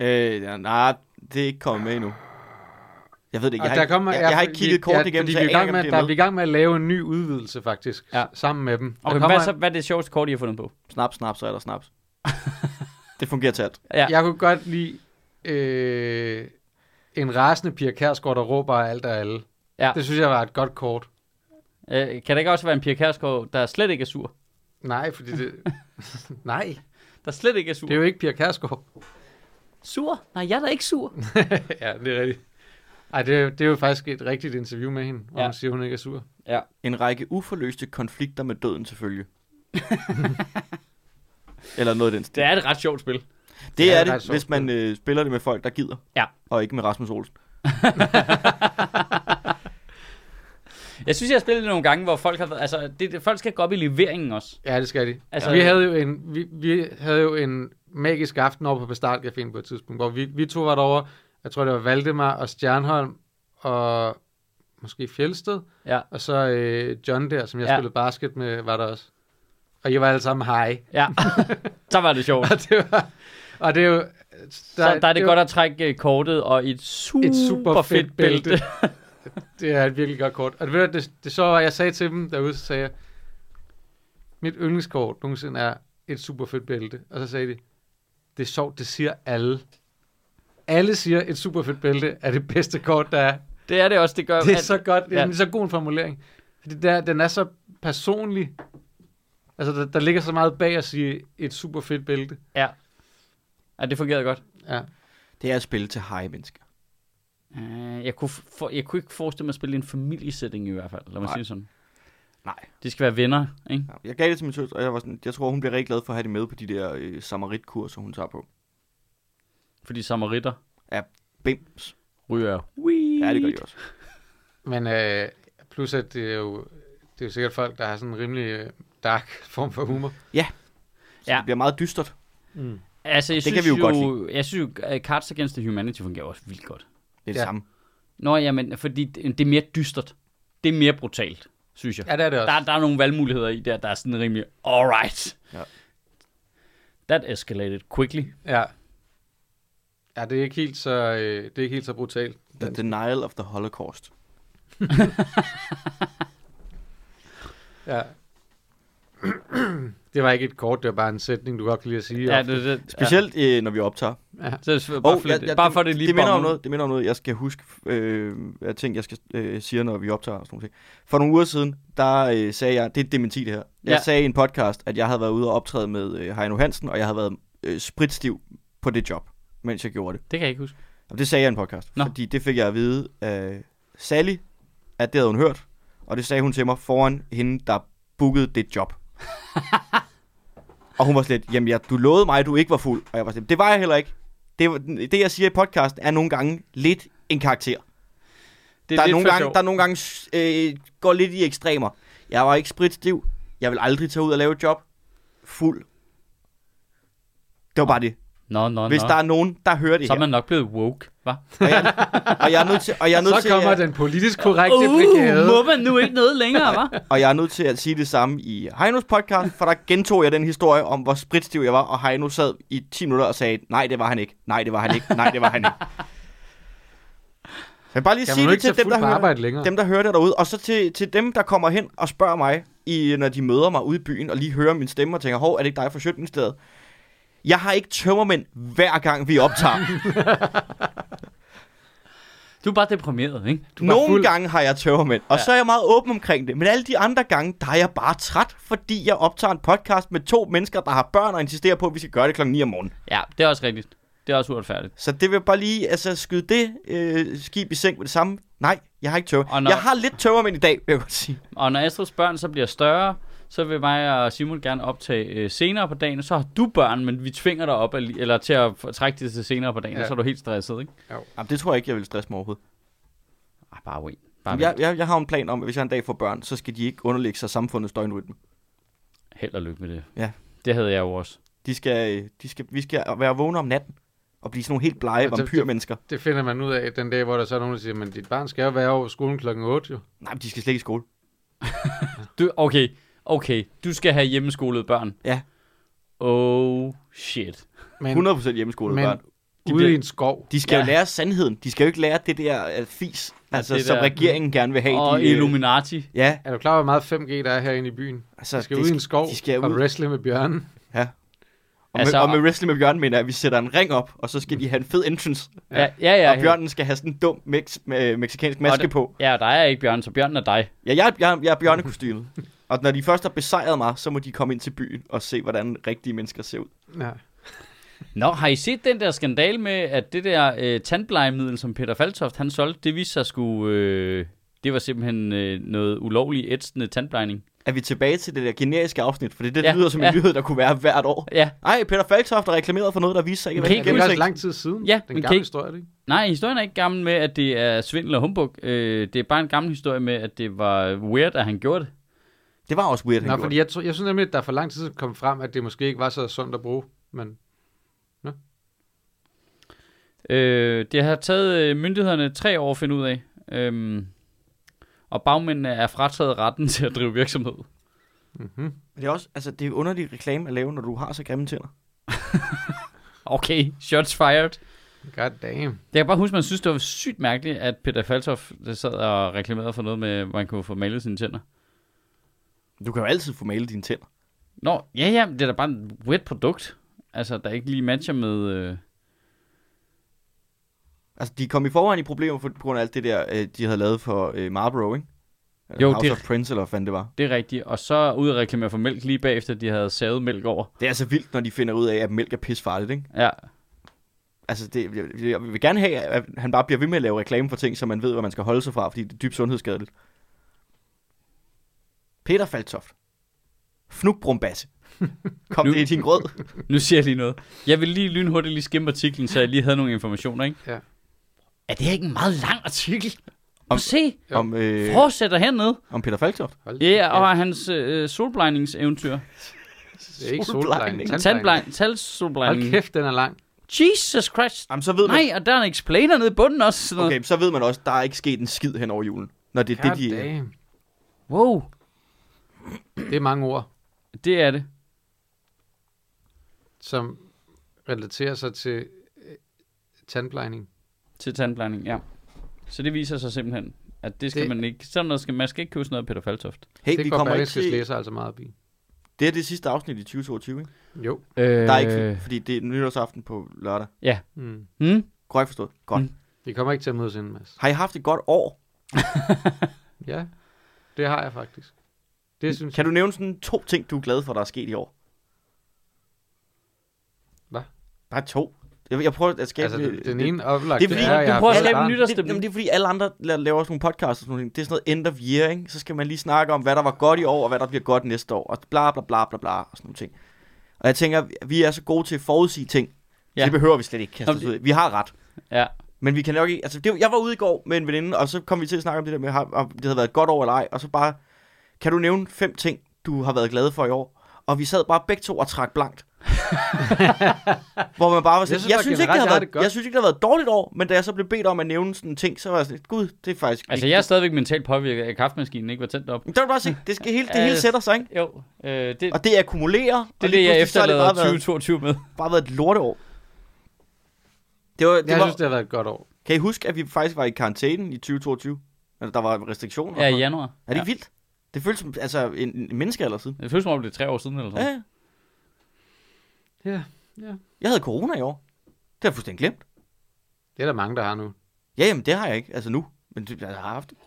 S3: Øh, ja, nej, det er ikke kommet med endnu. Jeg ved det ikke.
S2: Og
S3: Jeg,
S2: der
S3: har, ikke-
S2: kommer-
S3: jeg,
S2: ja,
S3: jeg har ikke
S2: vi-
S3: kigget kort
S2: ja,
S3: igennem,
S2: fordi
S3: så
S2: vi er
S3: jeg
S2: i
S3: aner
S2: gang
S3: ikke, om
S2: med,
S3: det
S2: der
S3: er
S2: er vi
S3: med.
S2: i gang med at lave en ny udvidelse, faktisk,
S1: Ja.
S2: ja. sammen med dem. Der
S1: Okay,
S2: kommer
S1: hvad, er
S2: en-
S1: så, hvad er det sjoveste kort, I har fundet på?
S3: Snap, snap, så er der snaps. det fungerer til alt.
S1: Ja.
S2: Jeg kunne godt lide øh, en rasende Pia Kærsgaard, der råber af alt og alle.
S1: Ja.
S2: Det synes jeg var et godt kort.
S1: Øh, kan det ikke også være en Pia Kærsgaard, der slet ikke er sur?
S2: Nej, fordi det... Nej,
S1: Der slet ikke er sur?
S2: det er jo ikke Pia Kærsgaard.
S1: Sur? Nej, jeg er da ikke sur.
S2: ja, det er rigtigt. Ej, det, er- det er jo faktisk et rigtigt interview med hende, hvor
S1: Ja.
S2: ja. hun siger, hun ikke er sur.
S1: Ja.
S3: En række uforløste konflikter med døden til følge. Eller noget af den stil.
S1: Det er et ret sjovt spil.
S3: Det
S2: Ja,
S3: er
S2: det er
S3: det,
S2: sjovt.
S3: hvis man øh, spiller det med folk, der gider.
S1: Ja.
S3: Og ikke med Rasmus Olsen.
S1: Jeg synes, jeg har spillet det nogle gange, hvor folk har været... Altså, det, det, folk skal gå op i leveringen også.
S2: Ja, det skal de.
S1: Altså-
S2: Altså, vi, havde jo en, vi, vi havde jo en magisk aften over på Bastardcaféen på et tidspunkt, hvor vi, vi to var derovre, jeg tror det var Valdemar og Stjernholm og måske Fjelsted,
S1: Ja.
S2: og så øh, John der, som jeg
S1: Ja.
S2: ja. spillede basket med, var der også. Og I var alle sammen hej.
S1: Ja. så var det sjovt.
S2: Og det, var, og det er jo... Der,
S1: Der, så der er det,
S2: jo
S1: godt at trække øh, kortet og et super,
S2: et super fedt bælte.
S1: bælte.
S2: det er et virkelig godt kort. Og det, ved du, det, det så var, jeg sagde til dem derude, så sagde jeg, mit yndlingskort nogensinde er et super fedt bælte. Og så sagde de, det er sjovt, det siger alle. Alle siger, et super fedt bælte er det bedste kort, der er.
S1: Det er det også, det gør.
S2: Det er
S1: at-
S2: så godt, det er
S1: ja.
S2: en så god en formulering. Fordi der, den er så personlig. Altså, der, der ligger så meget bag at sige, et super fedt bælte.
S1: Ja. ja, det fungerede godt.
S2: Ja.
S3: Det er at spille til hej mennesker.
S1: Øh, Jeg kunne, f- for, jeg kunne ikke forestille mig at spille i en familiesætning i hvert fald. Lad mig
S3: Nej.
S1: sige det sådan.
S3: Nej.
S1: De skal være venner, ikke?
S3: Ja, Jeg gav det til min søster, og jeg, var sådan, jeg tror, hun bliver rigtig glad for at have det med på de der øh, samaritkurser, hun tager på.
S1: Fordi samaritter
S3: Bims.
S1: ryger jo.
S3: Ja, det gør de også.
S2: Men øh, plus at det er, jo, det er jo sikkert folk, der har sådan en rimelig øh, dark form for humor.
S3: Så
S1: Ja.
S3: ja. det bliver meget dystert.
S2: Mm.
S1: Altså, jeg
S3: Det
S1: synes
S3: kan vi jo godt
S1: jo, Jeg synes jo, at Cards Against the Humanity fungerer også vildt godt.
S3: Det er det
S2: Ja.
S3: samme.
S1: Nå, jamen, fordi det det er mere dystert. Det er mere brutalt, synes jeg.
S2: Ja, det er det også.
S1: Der, der er nogle valgmuligheder i der, der er sådan rimelig, alright.
S3: Ja.
S1: That escalated quickly.
S2: Ja. Ja, det er ikke helt så, øh, det er ikke helt så brutalt.
S3: The Denial of the Holocaust.
S2: Ja. det var ikke et kort, det var bare en sætning, du godt kan lide at sige.
S1: Ja, det, det,
S3: Specielt øh, når vi optager.
S1: Ja. Så, så, bare, oh, for, ja, ja, bare for det lige
S3: det minder om
S1: bonger ud.
S3: noget, det minder om noget, jeg skal huske, øh, jeg tænkte, jeg skal øh, sige, når vi optager og sådan noget. For nogle uger siden, der øh, sagde jeg, det er et dementi det her. Jeg
S1: Ja.
S3: sagde i en podcast, at jeg havde været ude og optræde med øh, Heino Hansen, og jeg havde været øh, spritstiv på det job, mens jeg gjorde det.
S1: Det kan jeg ikke huske.
S3: Og det sagde jeg i en podcast,
S1: Nå.
S3: Nå. fordi det fik jeg at vide af Sally, at det havde hun hørt. Og det sagde hun til mig foran hende, der bookede det job. og hun var slet, jamen jeg, du lovede mig, at du ikke var fuld. Og jeg var slet, det var jeg heller ikke. Det, var- det jeg siger i podcasten, er nogle gange lidt en karakter.
S1: Det er
S3: der, er
S1: lidt
S3: nogle
S1: for
S3: gange,
S1: sjov.
S3: der er nogle gange øh, går lidt i ekstremer. Jeg var ikke spritstiv. Jeg vil aldrig tage ud og lave et job. Fuld. Det var bare det.
S1: Nå, nå,
S3: Hvis
S1: nå.
S3: der er nogen, der hører det
S1: så er
S3: her.
S1: man nok blevet woke, hva'?
S3: Og jeg, og jeg er nødt til, og jeg er nødt
S2: Så
S3: til
S2: kommer
S3: at,
S2: den politisk korrekte uh, brigade.
S1: Uh, må man nu ikke noget længere, hva'?
S3: og jeg er nødt til at sige det samme i Heinos podcast, for der gentog jeg den historie om, hvor spritstiv jeg var, og Heino sad i 10 minutter og sagde, nej, det var han ikke, nej, det var han ikke, nej, det var han ikke. Så jeg vil bare lige
S2: Kan man
S3: sige
S2: nu
S3: det
S2: ikke
S3: til
S2: tage
S3: dem,
S2: fuldt
S3: der
S2: på
S3: hører,
S2: arbejde længere?
S3: dem, der hører det derude, og så til, til dem, der kommer hen og spørger mig, i, når de møder mig ude i byen, og lige hører min stemme og tænker, hov, er det ikke dig fra Sjøtministeriet? Jeg har ikke tømmermænd hver gang, vi optager.
S1: Du er bare deprimeret, ikke?
S2: var
S3: Nogle
S2: fuld.
S3: fuld. gange har jeg tømmermænd, og ja. så er jeg meget åben omkring det. Men alle de andre gange, der er jeg bare træt, fordi jeg optager en podcast med to mennesker, der har børn og insisterer på, at vi skal gøre det klokken 9 om morgenen.
S1: Ja, det er også rigtigt. Det er også uretfærdigt.
S3: Så det vil bare lige altså, skyde det øh, skib i seng med det samme. Nej, jeg har ikke
S1: Og
S3: tømmermænd.
S1: når-
S3: Jeg har lidt tømmermænd i dag, vil jeg godt sige.
S1: Og når Astrids børn så bliver større, så vil mig og Simon gerne optage øh, senere på dagen. Så har du børn, men vi tvinger dig op alli- eller til at f- trække det til senere på dagen, ja.
S2: Ja.
S1: og så er du helt stresset, ikke?
S3: Jamen, det tror jeg ikke, jeg vil stresse mig overhovedet.
S1: Ah, bare wait. Bare
S3: Jamen,
S1: ja.
S3: jeg, jeg, jeg har en plan om, at hvis jeg en dag får børn, så skal de ikke underlægge sig samfundets døgnrytme.
S1: Held og lykke med det.
S3: Ja.
S1: Det havde jeg jo også.
S3: De skal, øh, de skal, vi skal være vågne om natten og blive sådan nogle helt blege
S2: Og det- det-
S3: vampyrmennesker.
S2: Det finder man ud af den dag, hvor der så er nogen, der siger, men dit barn skal jo være over skolen klokken 8 jo.
S3: Nej, men de skal slet ikke i skole.
S1: Du, okay, okay. Du skal have hjemmeskolede børn.
S3: Ja.
S1: Oh, shit.
S2: Men
S3: 100% hjemmeskole
S2: Men-
S3: børn.
S1: de
S2: ude
S1: bliver-
S2: i en skov.
S3: De skal ja.
S1: Ja.
S3: jo lære sandheden. De skal jo ikke lære det der øh, fis, altså,
S1: det
S3: det som
S1: der-
S3: regeringen gerne vil have.
S1: og
S3: de, øh,
S1: Illuminati.
S3: Ja,
S2: Er du klar over, hvor meget 5G der er herinde i byen?
S3: altså,
S2: De skal
S3: det
S2: ud i en skov
S3: de skal
S2: og
S3: ud.
S2: wrestle med bjørnen.
S3: Og,
S1: Altså-
S3: med, og med Wrestling med Bjørn mener jeg, at vi sætter en ring op, og så skal de have en fed entrance.
S1: Ja, ja, ja. ja
S3: og Bjørnen skal have sådan en dum mex, me, meksikansk maske
S1: det-
S3: på.
S1: Ja, der er ikke Bjørn, så Bjørn er dig.
S3: Ja, jeg, jeg, jeg er bjørnekostymet. og når de først har besejret mig, så må de komme ind til byen og se, hvordan rigtige mennesker ser ud.
S2: Ja.
S1: Nå, har I set den der skandal med, at det der øh, tandplejemiddel, som Peter Faltoft han solgte, det viste sig skulle... Øh, det var simpelthen øh, noget ulovlig ætsende tandplejning.
S3: Er vi tilbage til det der generiske afsnit? For det, det
S1: Ja,
S3: ja, lyder som
S1: ja.
S3: en nyhed, der kunne være hvert år.
S1: Ja,
S3: Ej, Peter Falktoft har reklameret for noget, der viser sig ikke at
S1: Men
S3: være
S1: kan
S2: Det er
S1: ikke-
S2: også
S3: gennemtænkt.
S2: lang tid siden.
S1: Ja,
S2: den
S1: men
S2: gamle
S1: kan I-
S2: historie, er det ikke?
S1: nej, historien er ikke gammel med, at det er svindel og humbug. Øh, det er bare en gammel historie med, at det var weird, at han gjorde det.
S3: Det var også weird, han
S2: Nå,
S3: gjorde
S2: fordi jeg, tror, jeg synes nemlig, at der for lang tid siden kom frem, at det måske ikke var så sundt at bruge. Men
S1: Øh, det har taget øh, myndighederne tre år at finde ud af. Øhm, og bagmændene er frataget retten til at drive virksomhed.
S2: mm-hmm.
S3: det. Det er også, altså, det er underlig reklame at lave, når du har så grimme tænder.
S1: Okay, shots fired.
S2: god damn.
S1: Jeg kan bare huske, man synes, det var sygt mærkeligt, at Peter Faltoff der sad og reklamerede for noget med, hvor han kunne få malet sine tænder.
S3: Du kan jo altid få malet dine tænder.
S1: Nå, ja ja, det er da bare et weird produkt. Altså, der ikke lige matcher med... Øh...
S3: Altså, de kom i forvejen i problemer for, på grund af alt det der, øh, de havde lavet for øh, Marlboro, ikke? Eller
S1: Jo,
S3: House
S1: det-
S3: of Prince, eller hvad fanden det var.
S1: Det er rigtigt. Og så ud og reklamere for mælk lige bagefter, de havde savet mælk over.
S3: Det er altså vildt, når de finder ud af, at mælk er pisfarligt, ikke?
S1: Ja,
S3: Altså, det, jeg, jeg vil gerne have, at han bare bliver ved med at lave reklame for ting, så man ved, hvad man skal holde sig fra, fordi det er dybt sundhedsskadeligt. Peter Faltoft. Fnukbrumbasse. Kom
S1: Nu-
S3: det i din grød.
S1: nu siger jeg lige noget. Jeg vil lige lynhurtigt lige skimme artiklen, så jeg lige havde nogle informationer, ikke?
S2: Ja.
S1: Er det her ikke en meget lang artikel? Om... Se,
S2: Jo.
S3: Om, øh,
S1: fortsætter hernede.
S3: om Peter Faltoft.
S2: Hold
S1: Ja, yeah,
S2: da
S1: og
S2: kæft.
S1: hans øh, solblejningseventyr.
S2: det er ikke
S3: solblejning.
S2: solblejning.
S1: Tandblejning.
S2: Hold
S1: Talsolblejning.
S2: kæft, den er lang.
S1: Jesus Christ.
S3: Jamen, så ved man,
S1: Nej, og der er en explainer nede i bunden også. Sådan noget.
S3: okay, så ved man også, der er ikke sket en skid hen over julen. Når det er det,
S2: God
S3: de...
S2: damn.
S1: Wow,
S2: Det er mange ord,
S1: det er det.
S2: som relaterer sig til øh, tandplejning.
S1: Til tandplejning, ja. Så det viser sig simpelthen, at det skal det...
S2: Det-
S1: man ikke... Sådan noget skal, man skal ikke købe sådan noget af Peter Faltoft.
S3: Hey,
S2: det
S3: vi
S2: går
S3: kommer ikke
S2: Berlingskes
S3: til...
S2: læser altså meget op i.
S3: Det er det sidste afsnit i 2022, ikke?
S2: Jo.
S1: Øh...
S3: Der er ikke... Fordi det er nytårsaften på lørdag.
S2: Mm.
S1: Hmm?
S3: Korrekt forstået. Godt.
S1: Mm.
S3: Mm.
S2: Vi kommer ikke til at mødes inden, Mads.
S3: Har I haft et godt år?
S2: Ja, det har jeg faktisk. Det synes
S3: Kan du nævne sådan to ting, du er glad for, der er sket i år?
S2: Hvad?
S3: Bare to. Jeg, jeg prøver at
S2: jeg.
S3: skabe...
S2: Altså, den, den
S3: det,
S2: ene oplagt,
S3: det er fordi,
S2: at jeg
S1: du
S2: har
S1: prøver at
S2: fået
S1: skabe
S2: barn.
S1: en
S3: det, det,
S1: nytårsstemning.
S3: jamen, det er fordi, alle andre la- laver sådan nogle podcasts og sådan noget. Det er sådan noget end of year, ikke? Så skal man lige snakke om, hvad der var godt i år, og hvad der bliver godt næste år, og bla bla bla bla bla, og sådan nogle ting. Og jeg tænker, vi er så gode til at forudsige ting, ja.
S1: Ja.
S3: så det behøver vi slet ikke kaste
S1: Jamen,
S3: os
S1: det-
S3: ud. i. Vi har ret.
S1: Ja.
S3: Men vi kan nok ikke... Altså, det, var- jeg var ude i går med en veninde, og så kom vi til at snakke om det der med, har- om det havde været et godt år eller ej. Og så bare... Kan du nævne fem ting, du har været glad for i år? Og vi sad bare begge to og trak blankt. Hvor man bare var sådan, jeg synes,
S2: synes bare
S3: jeg synes, ikke,
S2: generelt, jeg
S3: det har
S2: har
S3: været,
S2: det
S3: jeg,
S2: godt."
S3: synes ikke, det har været et dårligt år, men da jeg så blev bedt om at nævne sådan en ting, så var jeg sådan, gud, det er faktisk...
S1: Altså,
S3: ikke-
S1: jeg er stadigvæk mentalt påvirket af, at kaffemaskinen ikke var tændt op.
S3: Men Der vil bare sige, det, skal hele, det
S1: Ja,
S3: hele
S1: ja.
S3: sætter sig, ikke?
S1: Jo, øh, det,
S3: Og det akkumulerer.
S1: det er
S3: og lige
S1: det, jeg
S3: pludselig, så har
S1: efterlader
S3: bare været,
S1: 2022 med.
S3: bare været et lorteår. Det var, det
S2: Jeg
S3: var,
S2: synes, det har været et godt år.
S3: Kan I huske, at vi faktisk var i karantæne i 2022? Altså, der var restriktioner.
S1: Ja,
S3: og sådan
S1: i januar.
S3: Er det ikke vildt? Det føles som altså, en, en menneskealder siden.
S1: Ja. Det føles som om, det er tre år siden eller sådan
S3: Ja,
S1: noget.
S3: ja.
S2: Ja,
S3: Jeg havde corona i år. Det har jeg fuldstændig glemt.
S2: det er der mange, der har nu.
S3: Ja, jamen, det har jeg ikke. Altså nu. Men det, jeg har haft det.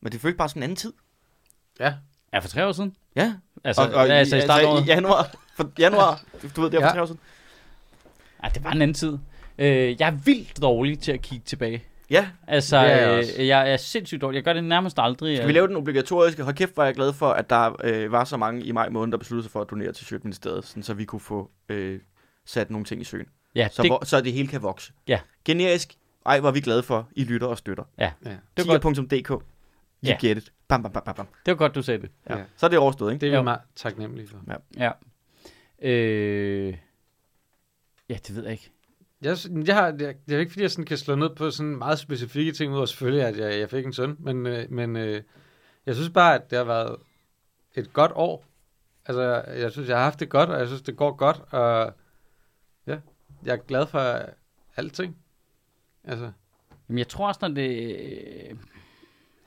S3: Men det føles bare sådan en anden tid.
S2: Ja,
S1: Ja, for tre år siden.
S3: Ja.
S1: Altså, og, og, altså i starten af
S3: altså,
S1: året.
S3: i januar. For januar. Du ved, det er for
S2: Ja.
S3: tre år siden.
S1: Ja, Ah, det var en anden tid. Øh, jeg er vildt dårlig til at kigge tilbage.
S3: Ja.
S1: Altså,
S2: Det er jeg også.
S1: øh, jeg er sindssygt dårlig. Jeg gør det nærmest aldrig. øh.
S3: Skal vi lave den obligatoriske? Hold kæft, var jeg glad for, at der øh, var så mange i maj måned, der besluttede sig for at donere til Sjøtministeriet, sådan, så vi kunne få øh, sat nogle ting i søen.
S1: Ja,
S3: Så, det... Hvor, så det hele kan vokse.
S1: Ja.
S3: Generisk. Ej, var vi glade for. I lytter og støtter.
S2: ja.
S1: Det var, godt,
S3: Tier.dk. You
S1: Ja.
S3: get it. Bam, bam, bam, bam, bam.
S1: det var godt, du sagde det.
S3: Ja.
S2: Ja.
S3: ja. Så er det overstået, ikke?
S2: Det er
S1: Jo.
S2: vi meget taknemmelige for.
S1: Ja. Øh... Ja, det ved jeg ikke.
S2: Jeg, sy- jeg har, jeg, det er ikke, fordi jeg sådan kan slå ned på sådan meget specifikke ting, udover selvfølgelig, at jeg, jeg fik en søn, men, øh, men øh, jeg synes bare, at det har været et godt år. Altså, jeg, jeg synes, jeg har haft det godt, og jeg synes, det går godt, og ja, jeg er glad for alting. Altså,
S1: Jamen, jeg tror også, når det... øh, Jeg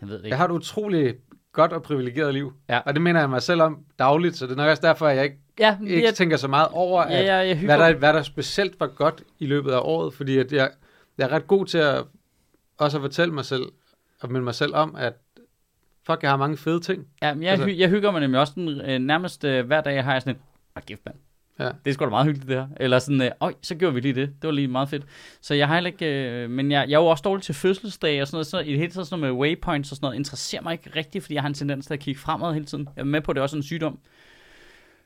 S1: ved det ikke.
S2: jeg har et utroligt godt og privilegeret liv,
S1: Ja.
S2: og det mener jeg mig selv om dagligt, så det er nok også derfor, at jeg ikke,
S1: Ja,
S2: ikke
S1: jeg,
S2: tænker så meget over, at
S1: ja, jeg, jeg hygger.
S2: hvad der, hvad der specielt var godt i løbet af året, fordi at jeg, jeg er ret god til at også at fortælle mig selv, og minde mig selv om, at fuck, jeg har mange fede ting.
S1: Jamen, jeg,
S2: altså-
S1: hy, jeg hygger mig nemlig også den, øh, nærmest øh, hver dag, har jeg sådan en... Åh, kæft, mand.
S2: Ja.
S1: Det er sgu da meget hyggeligt det her. Eller sådan, øh, øj, så gjorde vi lige det. Det var lige meget fedt. Så jeg har heller ikke, øh, men jeg, jeg er jo også dårlig til fødselsdage og sådan noget. Så i det hele taget sådan noget med waypoints og sådan noget, interesserer mig ikke rigtigt, fordi jeg har en tendens til at kigge fremad hele tiden. Jeg er med på, at det er også en sygdom.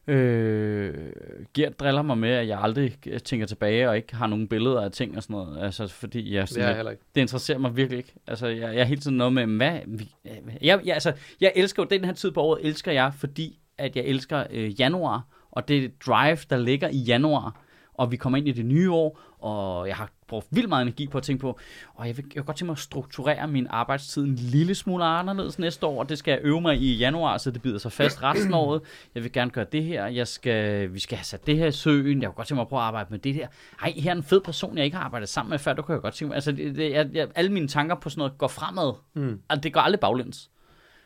S1: Øh, Gert driller mig med, at jeg aldrig øh, tænker tilbage og ikke har nogen billeder af ting og sådan noget. Altså, fordi jeg er
S2: Det
S1: sådan
S2: er jeg
S1: lidt-
S2: heller ikke.
S1: det interesserer mig virkelig ikke. Altså, jeg, jeg er hele tiden noget med, hvad... vi- Jeg, jeg, altså, jeg elsker jo den her tid på året, elsker jeg, fordi at jeg elsker øh, januar, og det drive, der ligger i januar, og vi kommer ind i det nye år, og jeg har brugt vildt meget energi på at tænke på, og jeg vil, jeg vil godt tænke mig at strukturere min arbejdstid en lille smule anderledes næste år, og det skal jeg øve mig i i januar, så det bider sig fast resten af året. Jeg vil gerne gøre det her, jeg skal, vi skal have sat det her i søen, jeg vil godt tænke mig at prøve at arbejde med det her. Ej, her er en fed person, jeg ikke har arbejdet sammen med før, det kunne jeg godt tænke mig. Altså, det, det, jeg, jeg, alle mine tanker på sådan noget går fremad,
S2: Mm.
S1: og det går aldrig baglæns.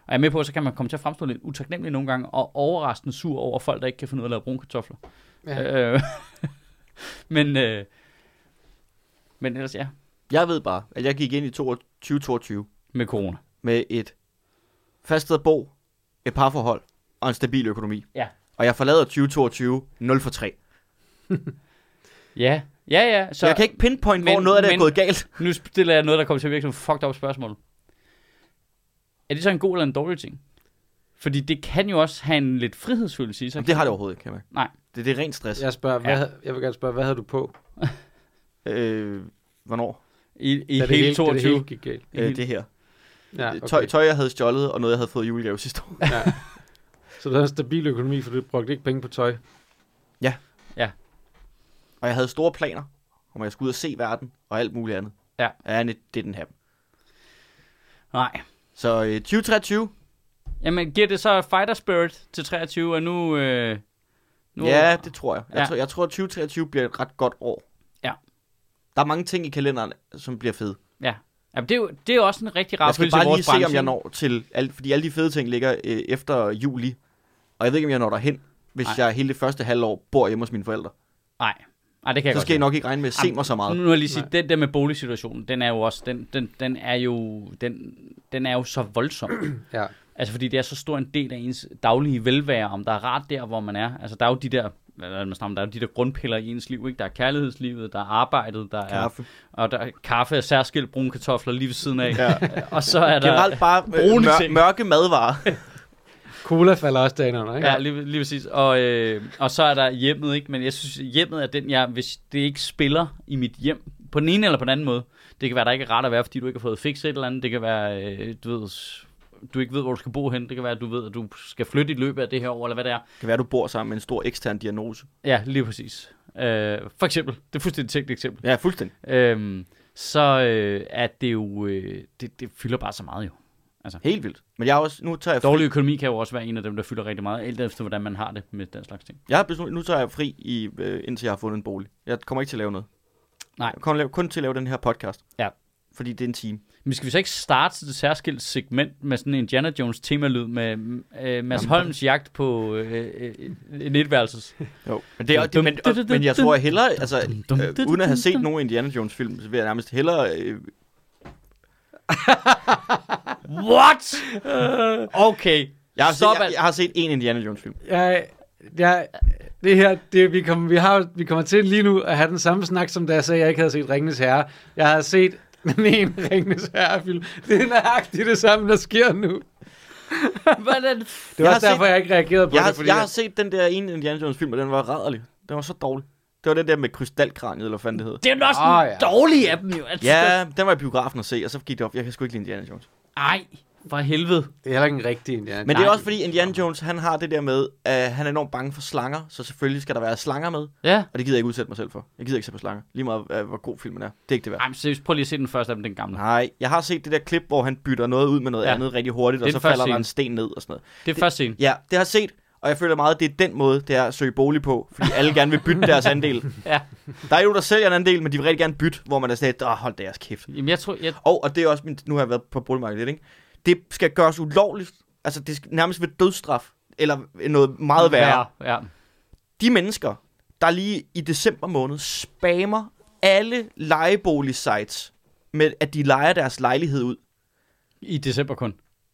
S1: Og jeg er med på, at så kan man komme til at fremstå lidt utaknemmelig nogle gange, og overraskende sur over folk, der ikke kan finde ud af at lave brune kartofler.
S2: Ja.
S1: Øh, men, øh, men ellers ja,
S3: Jeg ved bare, at jeg gik ind i 2022
S1: med corona.
S3: med et fast sted at bo, et parforhold og en stabil økonomi.
S1: Ja.
S3: Og jeg forlader 2022 0 for 3.
S1: Ja, ja, ja.
S3: Så jeg kan ikke pinpoint, hvor
S1: men-
S3: noget af det er
S1: men-
S3: gået galt.
S1: Nu stiller jeg noget, der kommer til at virke som et fucked up spørgsmål. Er det så en god eller en dårlig ting? Fordi det kan jo også have en lidt frihedsfølelse i sig.
S3: Jamen, det har det overhovedet ikke, kan man.
S1: Nej.
S3: Det, det er ren stress.
S2: Altså,
S3: Ja.
S2: Jeg, spørger, hvad,
S1: Ja.
S2: havde- jeg vil gerne spørge, hvad havde du på,
S3: Øh, hvornår?
S1: I, i
S2: da det
S1: hele
S2: hele, da det
S1: 22.
S2: hele gik galt?
S3: Øh, det her.
S2: Ja,
S3: Okay. Tøj, tøj, jeg havde stjålet, og noget, jeg havde fået i julegave sidste år.
S2: Ja. Så du havde en stabil økonomi, for du brugte ikke penge på tøj.
S3: Og jeg havde store planer, om at jeg skulle ud og se verden, og alt muligt andet.
S1: Ja.
S3: And it didn't happen.
S1: Nej.
S3: Så øh, 2023,
S1: Jamen, giver det så Fighter Spirit til 23, og nu... Øh, nu
S3: ja, det tror jeg. Jeg,
S1: Ja.
S3: tror, jeg tror, at 2023 bliver et ret godt år.
S1: Ja.
S3: Der er mange ting i kalenderen, som bliver fede.
S1: Jamen, det, er jo, det er jo også en rigtig rar
S3: Jeg skal
S1: følelse i
S3: bare lige
S1: vores branche.
S3: se, om jeg når til alt, fordi alle de fede ting ligger øh, efter juli. Og jeg ved ikke, om jeg når derhen, hvis
S1: Nej.
S3: Ej. jeg hele det første halvår bor hjemme hos mine forældre.
S1: Nej. Nej, det kan jeg
S3: Så
S1: godt
S3: skal I
S1: lide.
S3: nok ikke regne med at se
S1: Jamen, mm,
S3: mig så meget.
S1: Nu vil jeg lige sige, den der med boligsituationen, den er jo også, den, den, den er jo, den, den er jo så voldsom.
S2: Ja.
S1: Altså fordi det er så stor en del af ens daglige velvære, om der er rart der, hvor man er. Altså der er jo de der, hvad er det, man snakker om, der er jo de der grundpiller i ens liv, ikke? Der er kærlighedslivet, der er arbejdet, der er,
S3: Kaffe.
S1: og der er kaffe og særskilt brune kartofler lige ved siden af.
S3: Ja.
S1: Og så er der,
S3: Generelt bare øh,
S1: brune
S3: mør-
S1: ting.
S3: mørke madvarer.
S2: Cola falder også dagen under, ikke?
S1: Ja, lige, lige præcis. Og, øh, og så er der hjemmet, ikke? Men jeg synes, hjemmet er den, jeg, hvis det ikke spiller i mit hjem, på den ene eller på den anden måde. Det kan være, der ikke er rart at være, fordi du ikke har fået fikset et eller andet. Det kan være, øh, du ved, s- du ikke ved, hvor du skal bo hen. Det kan være, at du ved, at du skal flytte i løbet af det her år, eller hvad det er.
S3: Det kan være, du bor sammen med en stor ekstern diagnose.
S1: Ja, lige præcis. Øh, for eksempel, det er fuldstændig tænkt eksempel.
S3: Ja, fuldstændig.
S1: Øh, så øh, at det jo, øh, det, det fylder bare så meget jo. Altså,
S3: Helt vildt. Men jeg er også, nu tager jeg fri.
S1: Dårlig økonomi kan jo også være en af dem, der fylder rigtig meget, alt efter hvordan man har det med den slags ting.
S3: Jeg har besluttet, nu tager jeg fri, i, øh, indtil jeg har fundet en bolig. Jeg kommer ikke til at lave noget.
S1: Nej.
S3: Jeg kommer lave, kun til at lave den her podcast.
S1: Ja.
S3: Fordi det er en time.
S1: Men skal vi så ikke starte det særskilt segment med sådan en Indiana Jones temalyd med øh, Mads Holms jagt på øh, øh, en etværelses?
S3: Jo. Men, det er, det, men, og, men jeg tror jeg hellere, altså, øh, uden at have set nogen Indiana Jones film, så vil jeg nærmest hellere... Øh,
S1: What? Okay.
S3: jeg, har set,
S1: Stop
S3: jeg,
S1: alt.
S3: jeg, har set en Indiana Jones film.
S2: Jeg, jeg, det her, det, vi, kommer, vi, har, vi kommer til lige nu at have den samme snak, som da jeg sagde, at jeg ikke havde set Ringenes Herre. Jeg har set den ene Ringenes Herre-film. Det er nøjagtigt det samme, der sker nu.
S1: Hvordan? f-
S2: Det var
S3: har
S2: også derfor,
S3: set-
S2: jeg ikke reagerede på
S3: Jeg
S2: det,
S3: har,
S2: fordi
S3: jeg har set den der ene Indiana Jones film, og den var rædderlig. Den var så dårlig. Det var den der med krystalkraniet, eller hvad fanden det hed.
S1: Det er jo også
S2: Åh,
S1: oh,
S2: ja.
S1: ja. dårlig af dem jo. Altså,
S3: Ja, den var i biografen at se, og så gik det op. Jeg kan sgu ikke lide Indiana Jones.
S1: Ej, for helvede.
S2: det er heller ikke en rigtig Indiana
S3: Men det er
S1: Nej.
S3: også fordi, Indiana Jones, han har det der med, at han er enormt bange for slanger, så selvfølgelig skal der være slanger med.
S1: Ja.
S3: Og det gider jeg ikke udsætte mig selv for. Jeg gider ikke se på slanger. Lige meget, øh, hvor god filmen er. Det er ikke det værd.
S1: Ej, men seriøst, prøv lige at se den første af dem, den gamle.
S3: Nej, jeg har set det der klip, hvor han bytter noget ud med noget
S1: Ja.
S3: ja. andet rigtig hurtigt,
S1: Det
S3: og
S1: er
S3: så
S1: den første
S3: falder der
S1: scene.
S3: en sten ned og sådan noget.
S1: Det er første scene.
S3: Ja, det har jeg set, og jeg føler meget, at det er den måde, det er at søge bolig på, fordi alle gerne vil bytte deres andel.
S1: Ja.
S3: Der er jo, der sælger en andel, men de vil rigtig gerne bytte, hvor man er sådan lidt, åh, hold deres kæft.
S1: Jamen, jeg tror... Jeg,
S3: Og, og det er også, min, nu har jeg været på boligmarkedet lidt, ikke? Det skal gøres ulovligt, altså det skal nærmest ved dødsstraf, eller noget meget værre.
S1: Ja, ja.
S3: de mennesker, der lige i december måned spammer alle lejebolig-sites med, at de lejer deres lejlighed ud.
S1: I december kun.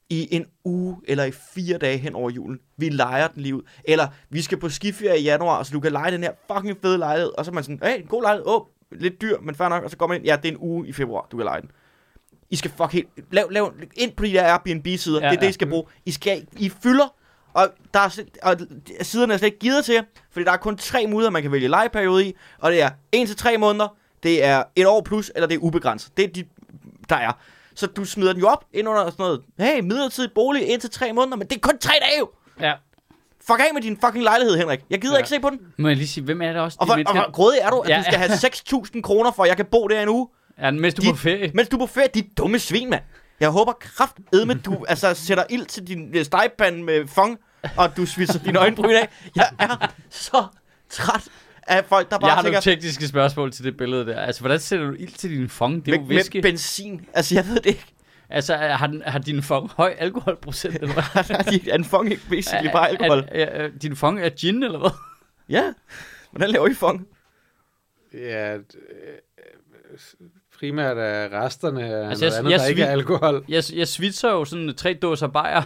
S3: i en uge eller i fire dage hen over julen. Vi leger den lige ud. Eller vi skal på skiferie i januar, så du kan lege den her fucking fede lejlighed. Og så er man sådan, hey, en god lejlighed. Åh, lidt dyr, men fair nok. Og så går man ind, ja, det er en uge i februar, du kan lege den. I skal fuck helt, lav, lav, ind på de der Airbnb-sider,
S1: Ja,
S3: ja, det er det,
S1: ja.
S3: I skal bruge. I skal, I fylder, og, der er, slet- og siderne er slet ikke givet til jer, fordi der er kun tre måneder, man kan vælge legeperiode i, og det er 1 til tre måneder, det er et år plus, eller det er ubegrænset. Det er de, der er. Så du smider den jo op ind under sådan noget, hey, midlertidig bolig, 1 til tre måneder, men det er kun tre dage jo!
S1: Ja.
S3: Fuck af med din fucking lejlighed, Henrik. Jeg gider
S2: Ja.
S3: ja. ikke se på den.
S1: Må jeg lige sige, hvem er det også?
S3: Og
S1: de
S3: hvor, og
S1: mennesker-
S3: hvor grådig er du, at
S1: Ja,
S3: ja, du skal have 6.000 kroner for, at jeg kan bo der en uge?
S1: ja, mens du er
S3: De-
S1: på ferie.
S3: Mens du er på ferie, dit dumme svin, mand. Jeg håber kraftedme, du altså, sætter ild til din øh, stegepande med fong, og du svitser dine øjenbryn af. Jeg er så træt af folk, der bare
S1: Jeg har
S3: tænker,
S1: nogle tekniske spørgsmål til det billede der. Altså, hvordan sætter du ild til din fong? Det er jo
S3: med, med
S1: væske.
S3: benzin. Altså, jeg ved det ikke.
S1: Altså, er- har, den, har din fong høj alkoholprocent, eller hvad?
S3: er Altså, en fong ikke basically bare alkohol?
S1: Er, er, er, din fong er gin, eller hvad?
S3: Ja. Hvordan laver I fong?
S2: Ja, d- øh, øh, primært er resterne af
S1: Altså,
S2: altså,
S1: jeg-
S2: noget andet,
S1: jeg
S2: der ikke er
S1: svig-
S2: alkohol.
S1: Jeg, jeg svitser jo sådan tre dåser bajer.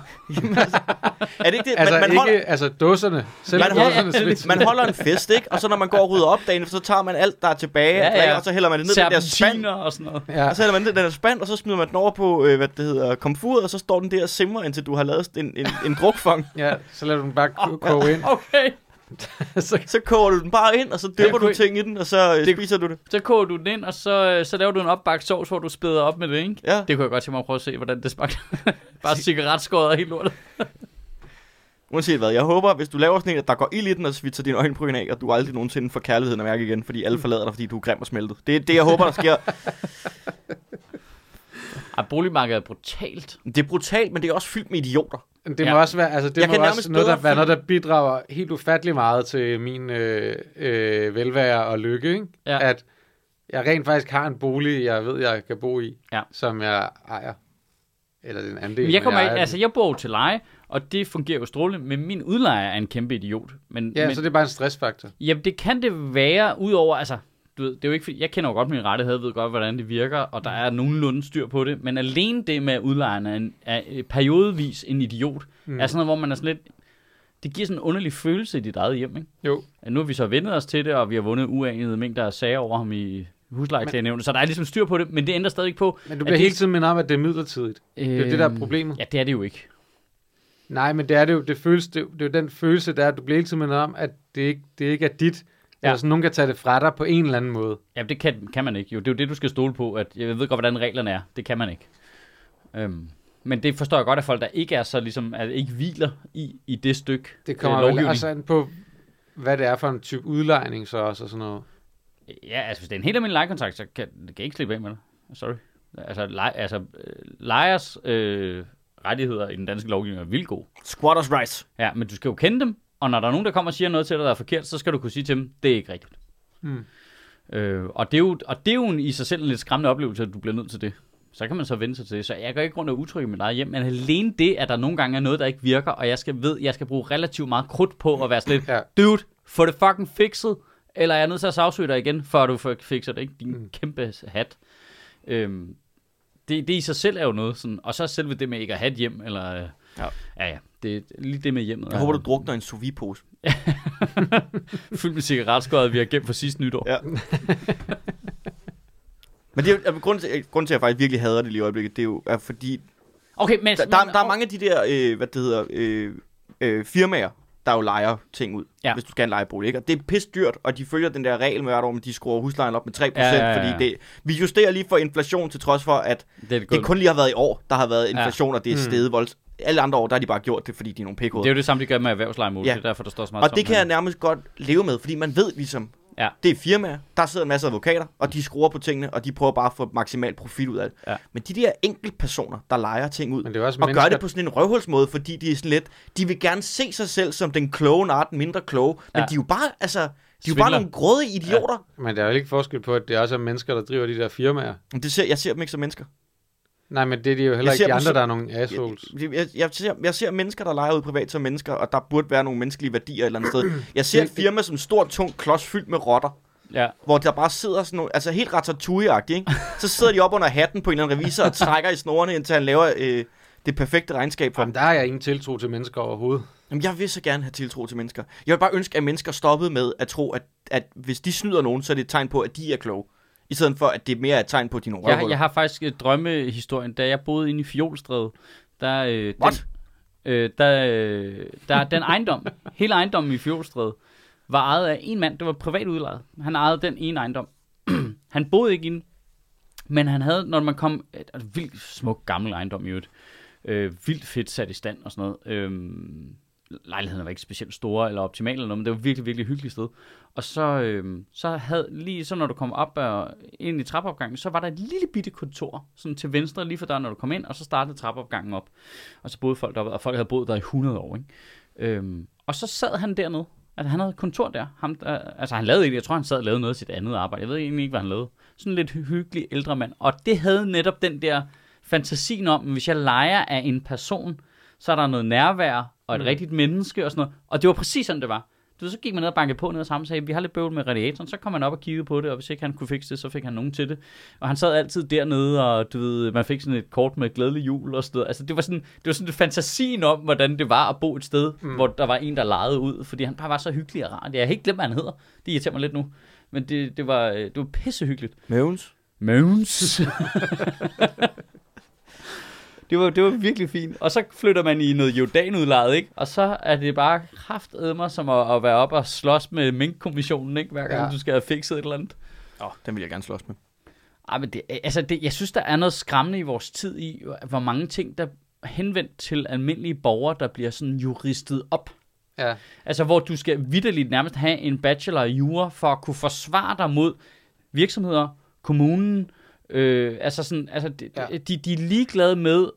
S3: Er det ikke det?
S2: Altså,
S3: man, man,
S2: ikke,
S3: holder,
S2: altså dåserne. Selv man,
S3: Man- ja, ja,
S2: dåserne
S1: ja,
S2: svitser.
S3: man holder en fest, ikke? Og så når man går og rydder op dagen, efter, så tager man alt, der er tilbage,
S1: Ja,
S3: ja,
S1: ja.
S3: ja. og så hælder man det ned i den der spand.
S1: Serpentiner og sådan noget.
S2: Ja.
S3: Og så hælder man den i den der spand, og så smider man den over på, øh, hvad det hedder, komfuret, og så står den der og simmer, indtil du har lavet en, en, en drukfang.
S2: ja, så lader du den bare k- koge ind.
S1: Okay,
S2: så,
S3: Så koger du den bare ind, og så
S1: Jeg
S3: døber
S1: kunne
S3: du
S1: ikke-
S3: ting i den, og så øh,
S1: Det-
S3: spiser du det.
S1: så koger du den ind, og så, øh, så laver du en opbagt sovs, hvor du spæder op med det, ikke?
S3: Ja.
S1: Det kunne jeg godt tænke mig at prøve at se, hvordan det smagte. Bare cigaretskåret og helt lortet.
S3: Uanset hvad, jeg håber, hvis du laver sådan en, at der går ild i den, og svitser dine øjenbryn af, og du aldrig nogensinde får kærligheden at mærke igen, fordi alle
S1: Mm.
S3: forlader dig, fordi du er grim og smeltet. Det er det, jeg håber, der sker.
S1: Ej, boligmarkedet er brutalt.
S3: Det er brutalt, men det er også fyldt med idioter.
S2: det
S1: Ja.
S2: må også være, altså, det
S3: Jeg
S2: må
S3: kan nærmest
S2: også noget, der,
S3: bedre
S2: være noget, der bidrager helt ufattelig meget til min øh, øh, velvære og lykke, ikke?
S1: Ja.
S2: At jeg rent faktisk har en bolig, jeg ved, jeg kan bo i,
S1: Ja.
S2: som jeg ejer. Eller den anden del,
S1: Men jeg, kommer,
S2: ejer
S1: ikke-
S2: den.
S1: altså, jeg bor jo til leje, og det fungerer jo strålende, men min udlejer er en kæmpe idiot. Men,
S2: Ja,
S1: men,
S2: men... så det er bare en stressfaktor.
S1: Jamen, det kan det være, udover, altså, du ved, det er jo ikke, fordi- jeg kender jo godt mine rettigheder, ved godt, hvordan det virker, og der er nogenlunde styr på det, men alene det med, at udlejeren er, en, er øh, periodevis en idiot, mm. er sådan noget, hvor man er sådan lidt, det giver sådan en underlig følelse i dit eget hjem, ikke?
S2: Jo.
S1: At nu har vi så vendet os til det, og vi har vundet uanede mængder af sager over ham i huslejeklagenævnet, så der er ligesom styr på det, men det ændrer stadig ikke på,
S2: Men du
S1: at
S2: bliver
S1: det-
S2: hele tiden mindet om, at det er midlertidigt. Det er jo det, der er problemet.
S1: Ja, det er det jo ikke.
S2: Nej, men det er det jo. Det, føles, det, det er jo den følelse, der er, at du bliver hele tiden mindet om, at det ikke, det ikke er dit.
S1: Ja.
S2: Ja. Altså, nogen kan tage det fra dig på en eller anden måde.
S1: Ja, det kan, kan man ikke. Jo, det er jo det, du skal stole på. At jeg ved godt, hvordan reglerne er. Det kan man ikke. Øhm, men det forstår jeg godt, at folk, der ikke er så ligesom, at ikke hviler i, i det stykke
S2: Det
S1: øh,
S2: kommer øh,
S1: lovgivning.
S2: vel også an på, hvad det er for en type udlejning så også og sådan noget.
S1: Ja, altså hvis det er en helt almindelig lejekontrakt, så kan, kan jeg ikke slippe af med det. Sorry. Altså, lej, altså øh, lejers øh, rettigheder i den danske lovgivning er vildt gode.
S3: Squatters rights.
S1: Ja, men du skal jo kende dem, og når der er nogen, der kommer og siger noget til dig, der er forkert, så skal du kunne sige til dem, det er ikke rigtigt.
S2: Mm.
S1: Øh, og det er jo, og det er jo en, i sig selv en lidt skræmmende oplevelse, at du bliver nødt til det. Så kan man så vende sig til det. Så jeg går ikke rundt og utryg i mit eget hjem, men alene det, at der nogle gange er noget, der ikke virker, og jeg skal ved, jeg skal bruge relativt meget krudt på at være sådan lidt,
S2: Ja.
S1: dude, få det fucking fikset, eller jeg er nødt til at sagsøge dig igen, før du f- fikser det, ikke? Din mm. kæmpe hat. Øhm, det, det i sig selv er jo noget, sådan, og så selve det med ikke at have et hjem, eller... øh,
S3: Ja.
S1: Ja, ja. Det, lige det med hjemmet.
S3: Jeg håber, du drukner en sous vide pose.
S1: Fyldt med cigaretskåret, vi har gemt for sidste nytår.
S3: Ja. Men det er, jo- altså, grunden, til, øh, grunden til, at jeg faktisk virkelig hader det lige i øjeblikket, det er jo, er fordi
S1: Okay, men...
S3: der, der, der er mange af de der, øh, hvad det hedder, øh, øh, firmaer, der jo lejer ting ud,
S1: Ja.
S3: ja. hvis du skal have en lejebolig. Ikke? Og det er pis dyrt, og de følger den der regel med, at de skruer huslejen op med 3%, ja, ja, ja, ja. fordi det, vi justerer lige for inflation, til trods for, at
S1: Det er det,
S3: det kun lige har været i år, der har været
S1: Ja.
S3: inflation, ja. og det er
S2: Mm.
S3: steget volds. Alle andre år, der har de bare gjort det, fordi de er nogle
S1: det er
S3: pikhoveder.
S1: jo det samme, de gør med erhvervslejemål. Ja.
S3: Ja.
S1: Det er derfor, der står så meget
S3: Og det kan jeg nærmest godt leve med, fordi man ved ligesom,
S1: Ja.
S3: det er firmaer, der sidder en masse advokater, og de skruer på tingene, og de prøver bare at få maksimal profit ud af det.
S1: Ja.
S3: Men de der enkeltpersoner, der lejer ting ud,
S2: Men det er jo også
S3: og
S2: mennesker,
S3: gør det på sådan en røvhulsmåde, fordi de er sådan lidt, de vil gerne se sig selv som den kloge, når den mindre kloge, men
S1: Ja.
S3: de er jo bare, altså, de er jo
S1: Svindler.
S3: bare nogle grådige idioter.
S2: men der er jo ikke forskel på, at det også er mennesker, der driver de der firmaer.
S3: Ja. Det ser, jeg ser dem ikke som mennesker.
S2: Nej, men det er de jo heller
S3: Jeg
S2: ikke
S3: ser
S2: de
S3: dem
S2: andre,
S3: som-
S2: der er nogle
S3: Jeg,
S2: assholes.
S3: jeg, jeg, jeg, ser, jeg ser mennesker, der leger ud privat som mennesker, og der burde være nogle menneskelige værdier et eller andet sted. Jeg ser et firma som en stor, tung klods fyldt med rotter,
S1: Ja.
S3: hvor der bare sidder sådan nogle, altså helt ratatouille ikke? Så sidder de op under hatten på en eller anden revisor og trækker i snorene, indtil han laver øh, det perfekte regnskab for
S2: Jamen,
S3: dem.
S2: der har jeg ingen tiltro til mennesker overhovedet.
S3: Jamen, jeg vil så gerne have tiltro til mennesker. Jeg vil bare ønske, at mennesker stoppede med at tro, at, at hvis de snyder nogen, så er det et tegn på, at de er kloge. I stedet for, at det mere er et tegn på, at de er nogle
S1: Jeg,
S3: røvhuller.
S1: jeg har faktisk øh, drømmehistorien, da jeg boede inde i Fjolstræde, der, øh,
S3: What?
S1: Den, øh, der, øh, der den ejendom, hele ejendommen i Fjolstræde, var ejet af en mand, det var privat udlejet. Han ejede den ene ejendom. han boede ikke inde, men han havde, når man kom, et, et vildt smuk gammel ejendom i øvrigt, øh, vildt fedt sat i stand og sådan noget. Øhm, lejligheden var ikke specielt store eller optimale eller noget, men det var virkelig, virkelig hyggeligt sted. Og så, øhm, så havde lige så når du kom op og ind i trappeopgangen, så var der et lille bitte kontor, sådan til venstre lige for døren, når du kom ind, og så startede trappeopgangen op. Og så boede folk deroppe, og folk havde boet der i 100 år, ikke? Øhm, og så sad han dernede, at han havde kontor der. Ham, der altså han lavede ikke, jeg tror han sad og lavede noget af sit andet arbejde. Jeg ved egentlig ikke, hvad han lavede. Sådan en lidt hy- hyggelig ældre mand. Og det havde netop den der fantasien om, hvis jeg leger af en person, så er der noget nærvær og et mm. rigtigt menneske og sådan noget. Og det var præcis sådan, det var. Du ved, så gik man ned og bankede på ned og sammen og sagde, vi har lidt bøvl med radiatoren. Så kom han op og kiggede på det, og hvis ikke han kunne fikse det, så fik han nogen til det. Og han sad altid dernede, og du ved, man fik sådan et kort med glædelig jul og sådan noget. Altså, det var sådan, det var sådan fantasien om, hvordan det var at bo et sted, mm. hvor der var en, der lejede ud, fordi han bare var så hyggelig og rar. Jeg har helt glemt, hvad han hedder. Det irriterer mig lidt nu. Men det, det var, øh, det var pissehyggeligt.
S3: Møvens.
S1: Møns. det, var, det var virkelig fint. Og så flytter man i noget jordanudlejet, ikke? Og så er det bare kraftedmer som at, at være op og slås med minkkommissionen, ikke? Hver gang ja.
S2: Ja.
S1: du skal have fikset et eller andet.
S3: Åh, den vil jeg gerne slås med.
S1: Ej, men det, altså det, jeg synes, der er noget skræmmende i vores tid i, hvor mange ting, der er henvendt til almindelige borgere, der bliver sådan juristet op.
S2: Ja.
S1: Altså, hvor du skal vidderligt nærmest have en bachelor i jura for at kunne forsvare dig mod virksomheder, kommunen. Øh, altså, sådan, altså de, ja.
S2: Ja.
S1: de, de er ligeglade med...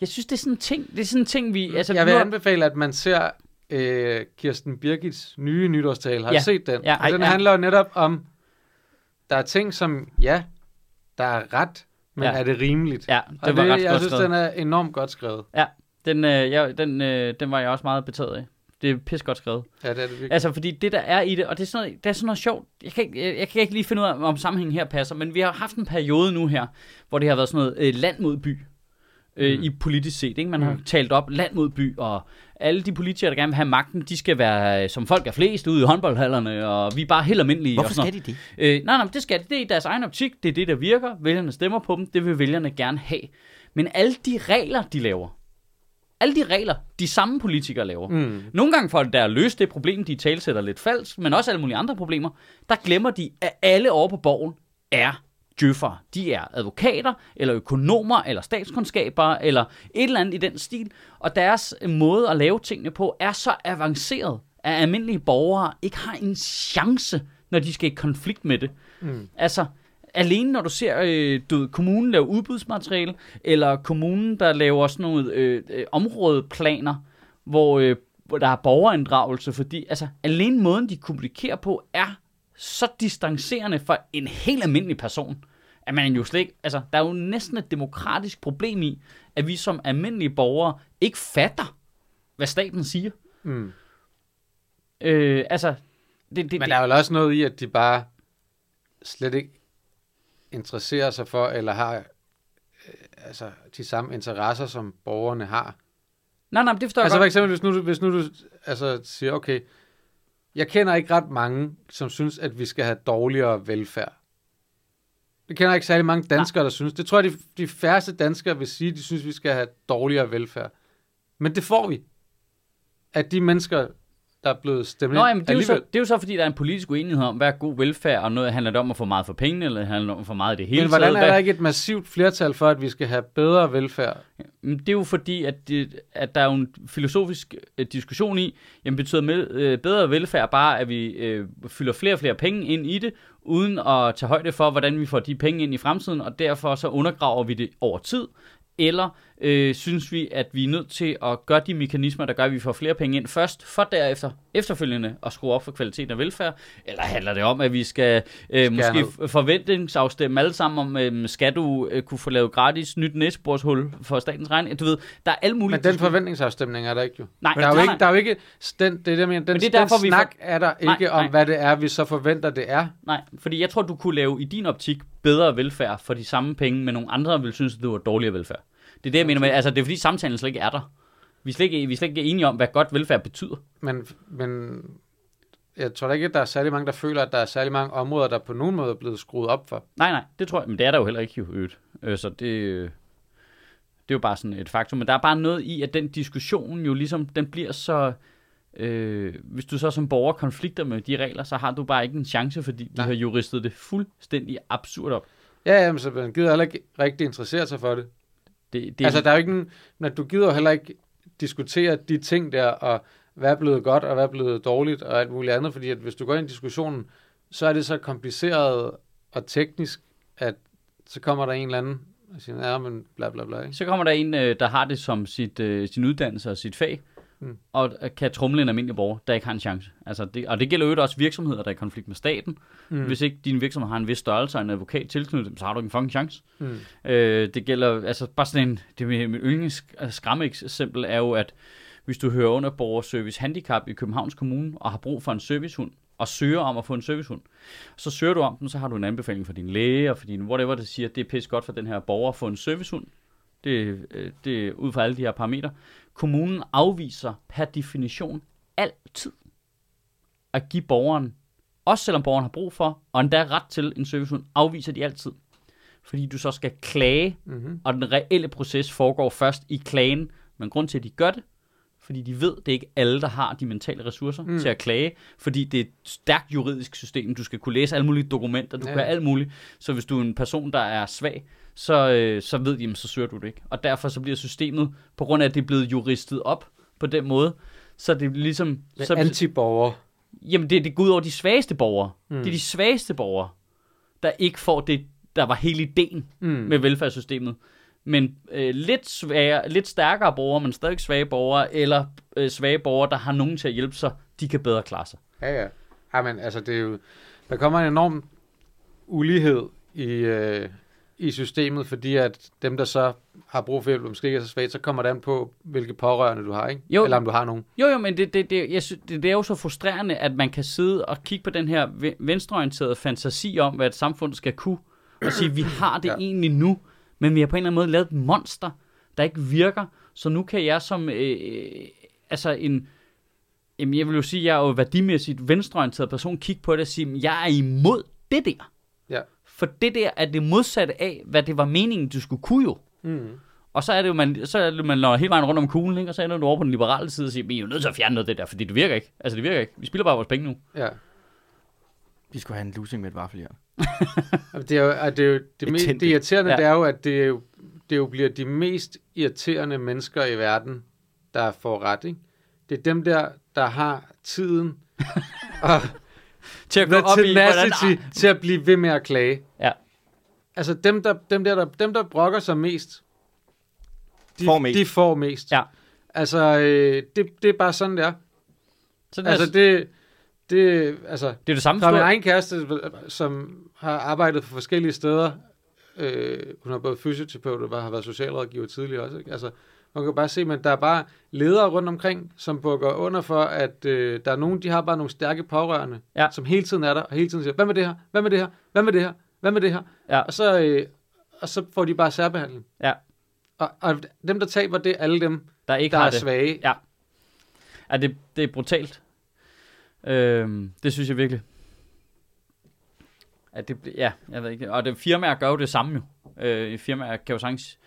S1: Jeg synes, det er sådan en ting, det er sådan en ting vi... Altså,
S2: Altså, jeg vil
S1: nu-
S2: anbefale, at man ser øh, Kirsten Birgits nye nytårstale.
S1: Ja.
S2: Har ja. du set den?
S1: Ja.
S2: Og den
S1: Ej, ja.
S2: handler jo netop om, der er ting, som, ja, der er ret, men
S1: Ja.
S2: ja. er det rimeligt?
S1: ja,
S2: Og
S1: det var
S2: det,
S1: ret
S2: jeg
S1: godt
S2: synes,
S1: skrevet.
S2: den er enormt godt skrevet.
S1: Den, øh, jeg, den, øh, den var jeg også meget betaget af. Det er pis godt skrevet.
S2: Ja, det er det virkelig.
S1: Altså, fordi det, der er i det, og det er sådan noget, det er sådan noget sjovt. Jeg kan, ikke, jeg, jeg kan ikke lige finde ud af, om sammenhængen her passer, men vi har haft en periode nu her, hvor det har været sådan noget øh, land mod by.
S3: Mhm.
S1: Øh, i politisk set, ikke? Man har talt op land mod by, og alle de politikere, der gerne vil have magten, de skal være, øh, som folk er flest, ude i håndboldhallerne, og vi er bare helt almindelige. og
S3: Hvorfor
S1: sådan noget.
S3: skal de det?
S1: Øh, nej, nej, men det skal det. Det er i deres egen optik. Det er det, der virker. Vælgerne stemmer på dem. Det vil vælgerne gerne have. Men alle de regler, de laver, alle de regler, de samme politikere laver, mm. nogle gange for at der at løse det problem, de talsætter lidt falsk, men også alle mulige andre problemer, der glemmer de, at alle over på borgen er djøffere. De er advokater, eller økonomer, eller statskundskaber, eller et eller andet i den stil. Og deres måde at lave tingene på er så avanceret, at almindelige borgere ikke har en chance, når de skal i konflikt med det. Mm. Altså, alene når du ser øh, du ved, kommunen lave udbudsmateriale, eller kommunen, der laver sådan nogle øh, øh, områdeplaner, hvor, øh, hvor der er borgerinddragelse, fordi altså, alene måden, de kommunikerer på, er så distancerende for en helt almindelig person, at man jo slet ikke, altså, der er jo næsten et demokratisk problem i, at vi som almindelige borgere ikke fatter, hvad staten siger.
S2: Mm.
S1: Øh, altså, det, det,
S2: Men der er vel også noget i, at de bare slet ikke interesserer sig for, eller har øh, altså, de samme interesser, som borgerne har.
S1: nej, nej, men det forstår jeg
S2: Altså
S1: godt.
S2: for eksempel, hvis nu, du- hvis nu du altså, siger, okay, jeg kender ikke ret mange, som synes, at vi skal have dårligere velfærd. Jeg kender ikke særlig mange danskere, der synes. Det tror jeg, de, de færreste danskere vil sige, de synes, vi skal have dårligere velfærd. Men det får vi. At de mennesker, der er blevet stemt
S1: Nå,
S2: ind
S1: jamen, det, er jo så,
S2: alligevel-
S1: det er jo så, fordi der er en politisk uenighed om, hvad er god velfærd, og noget handler det om at få meget for pengene, eller handler det om for meget i det hele
S2: Men hvordan
S1: taget.
S2: er der
S1: Hvad-
S2: ikke et massivt flertal for, at vi skal have bedre velfærd?
S1: Men Det er jo fordi, at, det, at der er jo en filosofisk øh, diskussion i, jamen betyder med, øh, bedre velfærd bare, at vi øh, fylder flere og flere penge ind i det, uden at tage højde for, hvordan vi får de penge ind i fremtiden, og derfor så undergraver vi det over tid, eller øh, synes vi, at vi er nødt til at gøre de mekanismer, der gør, at vi får flere penge ind først, for derefter efterfølgende at skrue op for kvaliteten af velfærd, eller handler det om, at vi skal øh, måske
S2: ned.
S1: f- forventningsafstemme alle sammen om, øh, skal du øh, kunne få lavet gratis nyt næsebordshul for statens regning? Du ved, der er alle mulige...
S2: Men den
S1: diskussioner.
S2: forventningsafstemning er der ikke jo.
S1: Nej,
S2: der er jo
S1: nej,
S2: ikke,
S1: nej.
S2: der er jo ikke den, det er det, jeg mener, den,
S1: Men det er
S2: det er
S1: derfor,
S2: derfor,
S1: vi
S2: den snak er der
S1: Nej,
S2: ikke om,
S1: nej.
S2: hvad det er, vi så forventer, det er.
S1: Nej, fordi jeg tror, du kunne lave i din optik bedre velfærd for de samme penge, men nogle andre ville synes, at det var dårligere velfærd. Det er det, jeg mener med, altså det er fordi samtalen slet ikke er der. Vi er slet ikke, vi er slet ikke enige om, hvad godt velfærd betyder.
S2: Men, men jeg tror da ikke, at der er særlig mange, der føler, at der er særlig mange områder, der på nogen måde er blevet skruet op for.
S1: Nej, nej, det tror jeg, men det er der jo heller ikke i øvrigt. Øh, så det, øh, det er jo bare sådan et faktum. Men der er bare noget i, at den diskussion jo ligesom, den bliver så... Øh, hvis du så som borger konflikter med de regler, så har du bare ikke en chance, fordi de
S2: Nej.
S1: har juristet det fuldstændig absurd op.
S2: Ja, jamen, så man gider heller ikke rigtig interessere sig for det.
S1: Det,
S2: det
S1: det,
S2: altså, der er jo ikke en, men du gider jo heller ikke diskutere de ting der, og hvad er blevet godt, og hvad er blevet dårligt, og alt muligt andet, fordi at hvis du går ind i diskussionen, så er det så kompliceret og teknisk, at så kommer der en eller anden og siger, ja, men bla bla bla, ikke?
S1: Så kommer der en, øh, der har det som sit, øh, sin uddannelse og sit fag,
S2: Mm.
S1: mm. og øh, kan trumle en almindelig borger, der ikke har en chance. Altså det, og det gælder jo også virksomheder, der er i konflikt med staten. Mm. Hvis ikke din virksomhed har en vis størrelse og en advokat tilknyttet, dem, så har du ikke en fucking chance.
S2: Mm.
S1: Øh, det gælder, altså bare sådan en, det er mit yndlings skræmmeeksempel er jo, at hvis du hører under borgerservice handicap i Københavns Kommune og har brug for en servicehund, og søger om at få en servicehund, så søger du om den, så har du en anbefaling fra din læge og fra din whatever, der siger, at det er pis godt for den her borger at få en servicehund. Det, øh, det er ud fra alle de her parametre. Kommunen afviser per definition altid at give borgeren, også selvom borgeren har brug for, og endda ret til en servicehund, afviser de altid. Fordi du så skal klage,
S2: Mm-hmm.
S1: og den reelle proces foregår først i klagen. Men grund til, at de gør det, fordi de ved, det er ikke alle, der har de mentale ressourcer
S2: Mm.
S1: mm. til at klage, fordi det er et stærkt juridisk system. Du skal kunne læse alle mulige dokumenter, du
S2: Ja.
S1: ja. kan alt muligt. Så hvis du er en person, der er svag, så, øh, så ved de, jamen, så søger du det ikke. Og derfor så bliver systemet, på grund af, at det er blevet juristet op på den måde, så det er ligesom...
S2: Så,
S1: så,
S2: antiborger.
S1: Jamen, det, det går ud over de svageste borgere.
S2: Mm.
S1: Mm. Det er de svageste borgere, der ikke får det, der var hele ideen
S2: Mm.
S1: mm. med velfærdssystemet. Men øh, lidt, svære, lidt stærkere borgere, men stadig svage borgere, eller øh, svage borgere, der har nogen til at hjælpe sig, de kan bedre klare sig.
S2: Ja, ja. Ja, men altså, det er jo, der kommer en enorm ulighed i, øh, i systemet, fordi at dem, der så har brug for hjælp, måske ikke er så svagt, så kommer det an på, hvilke pårørende du har, ikke?
S1: Jo.
S2: Eller om du har nogen.
S1: Jo, jo, men det, det, det, jeg synes, det, det er jo så frustrerende, at man kan sidde og kigge på den her ve- venstreorienterede fantasi om, hvad et samfund skal kunne, og sige, vi har det
S2: Ja.
S1: ja. egentlig nu, men vi har på en eller anden måde lavet et monster, der ikke virker, så nu kan jeg som, øh, altså en, jamen jeg vil jo sige, jeg er jo værdimæssigt venstreorienteret person, kigge på det og sige, jeg er imod det der.
S2: Ja.
S1: For det der er det modsatte af, hvad det var meningen, du skulle kunne jo.
S2: Mm.
S1: Og så er det jo, man, så er det, man når hele vejen rundt om kuglen, ikke? og så ender du over på den liberale side og siger, vi er jo nødt til at fjerne noget af det der, fordi det virker ikke. Altså det virker ikke. Vi spilder bare vores penge nu.
S2: Ja.
S3: Vi skulle have en losing med et vaffeljern.
S2: Jamen, Det er jo, og det, er jo, det,
S3: Et
S2: me, det
S3: tændte.
S2: irriterende, ja.
S1: Ja.
S2: det er jo, at det, er jo, det jo bliver de mest irriterende mennesker i verden, der får ret, ikke? Det er dem der, der har tiden og
S1: Til at gå op i, hvordan... Ah,
S2: tenacity til at blive ved med at klage.
S1: Ja.
S2: Altså dem der, dem der, der, dem der brokker sig mest, de
S3: Får mest.
S2: De får mest.
S1: Ja.
S2: Altså, øh, det, det er bare sådan, det er.
S1: Så det,
S2: Altså,
S1: altså, det,
S2: det, det, altså,
S1: det, er det samme
S2: fra min
S1: store...
S2: egen kæreste, øh, som har arbejdet på forskellige steder, øh, hun har både fysioterapeut og har været socialrådgiver tidligere også, ikke? Altså, man kan bare se, men der er bare ledere rundt omkring, som bukker under for, at øh, der er nogen, de har bare nogle stærke pårørende,
S1: Ja.
S2: som hele tiden er der, og hele tiden siger, hvad med det her, hvad med det her, hvad med det her, hvad med det her,
S1: Ja.
S2: og, så, øh, og så får de bare særbehandling.
S1: Ja.
S2: Og, og dem, der taber, det er alle dem,
S1: Der ikke
S2: der
S1: har
S2: er
S1: det.
S2: svage.
S1: Ja. Ja, det, det er brutalt. Øhm, det synes jeg virkelig. At det, ja, jeg ved ikke. Og det, firmaer gør jo det samme jo. Øh, firmaer kan jo sagtens...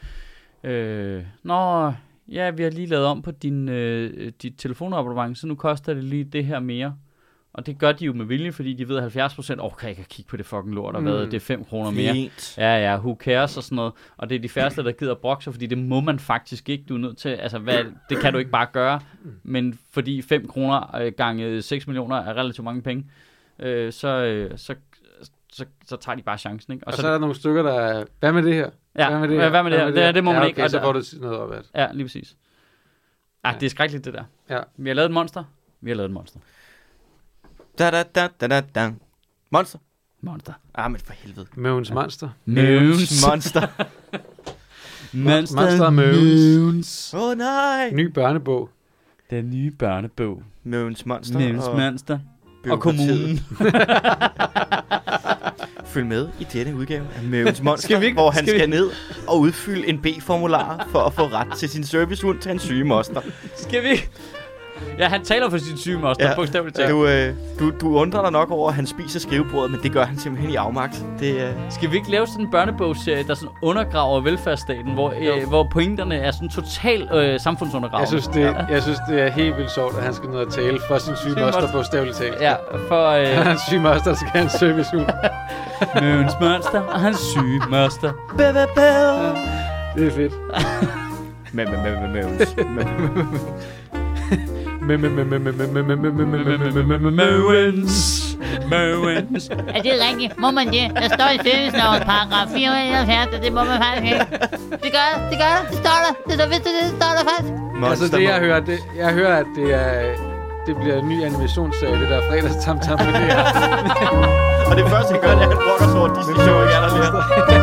S1: Øh, Nå, ja, vi har lige lavet om på din, øh, dit telefonabonnement, så nu koster det lige det her mere. Og det gør de jo med vilje, fordi de ved at 70%, åh, oh, kan jeg ikke kigge på det fucking lort, og hvad,
S2: Mm.
S1: det er 5 kroner mere.
S3: Fint.
S1: Ja, ja, who cares og sådan noget. Og det er de færreste, der gider brokke sig, fordi det må man faktisk ikke. Du er nødt til, altså hvad, det kan du ikke bare gøre. Men fordi 5 kroner øh, gange 6 millioner er relativt mange penge, øh, så, øh, så, så, så tager de bare chancen, ikke?
S2: Og, så, er der nogle stykker, der er, hvad med det her?
S1: ja,
S2: hvad med det her?
S1: Hvad med det, her? det, her? det må
S2: ja,
S1: man
S2: okay,
S1: ikke. Og
S2: så
S1: der-
S2: får du noget op ad. det.
S1: Ja, lige præcis. Ah, det er skrækkeligt, det der.
S2: Ja.
S1: Vi har lavet et monster. Vi har lavet et monster.
S3: Da, da, da, da, da, da. Monster.
S1: Monster.
S3: Ah, men for helvede.
S2: Møvens monster.
S1: Møvens.
S3: Monster.
S1: Monster,
S2: Monster Møvens.
S3: Åh oh, nej.
S2: Ny børnebog.
S1: Den nye børnebog.
S3: Møvens Monster.
S1: Møvens
S3: og
S1: Monster. Og
S3: bureaukratiet.
S1: kommunen.
S3: Følg med i denne udgave af Møvens Monster,
S2: Skal vi
S3: skal
S2: ikke-
S3: hvor han
S2: skal vi-
S3: skal, ned og udfylde en B-formular for at få ret til sin servicehund til hans syge moster.
S1: Skal vi? Ja, han taler for sin syge moster, ja. bogstaveligt talt.
S3: Du, øh, du, du undrer dig nok over, at han spiser skrivebordet, men det gør han simpelthen i afmagt. Det, øh,
S1: Skal vi ikke lave sådan en børnebogsserie, der sådan undergraver velfærdsstaten, hvor, øh, hvor pointerne er sådan total øh, samfundsundergravende?
S2: Jeg synes, det, jeg synes, det er helt vildt sjovt, at han skal ned og tale for sin syge
S1: Syge
S2: moster
S1: moster.
S2: på stavligt talt.
S1: Ja, for øh,
S2: Hans syge moster skal have en servicehund.
S1: Møns Monster og hans syge moster.
S2: Det er fedt.
S3: med, med, med, med, Møvens. med,
S2: Men, men, men, men, men, men, men, men, men, men, men, men, men, men, men, men, men.
S1: Møvens. Møvens.
S4: Er det rigtigt? Må man det? Der står i servicelovens paragraf 470, og det må man faktisk ikke. Det gør det, det gør det, det står der. Det står, det, det står der faktisk.
S3: Monster,
S2: Altså det, jeg hører, det, jeg hører, at det er... Det bliver en ny animationsserie, det der fredags tam tam med det her.
S3: Og det første, han gør, det er, at han brokker sig over Disney Show, jeg er der lige.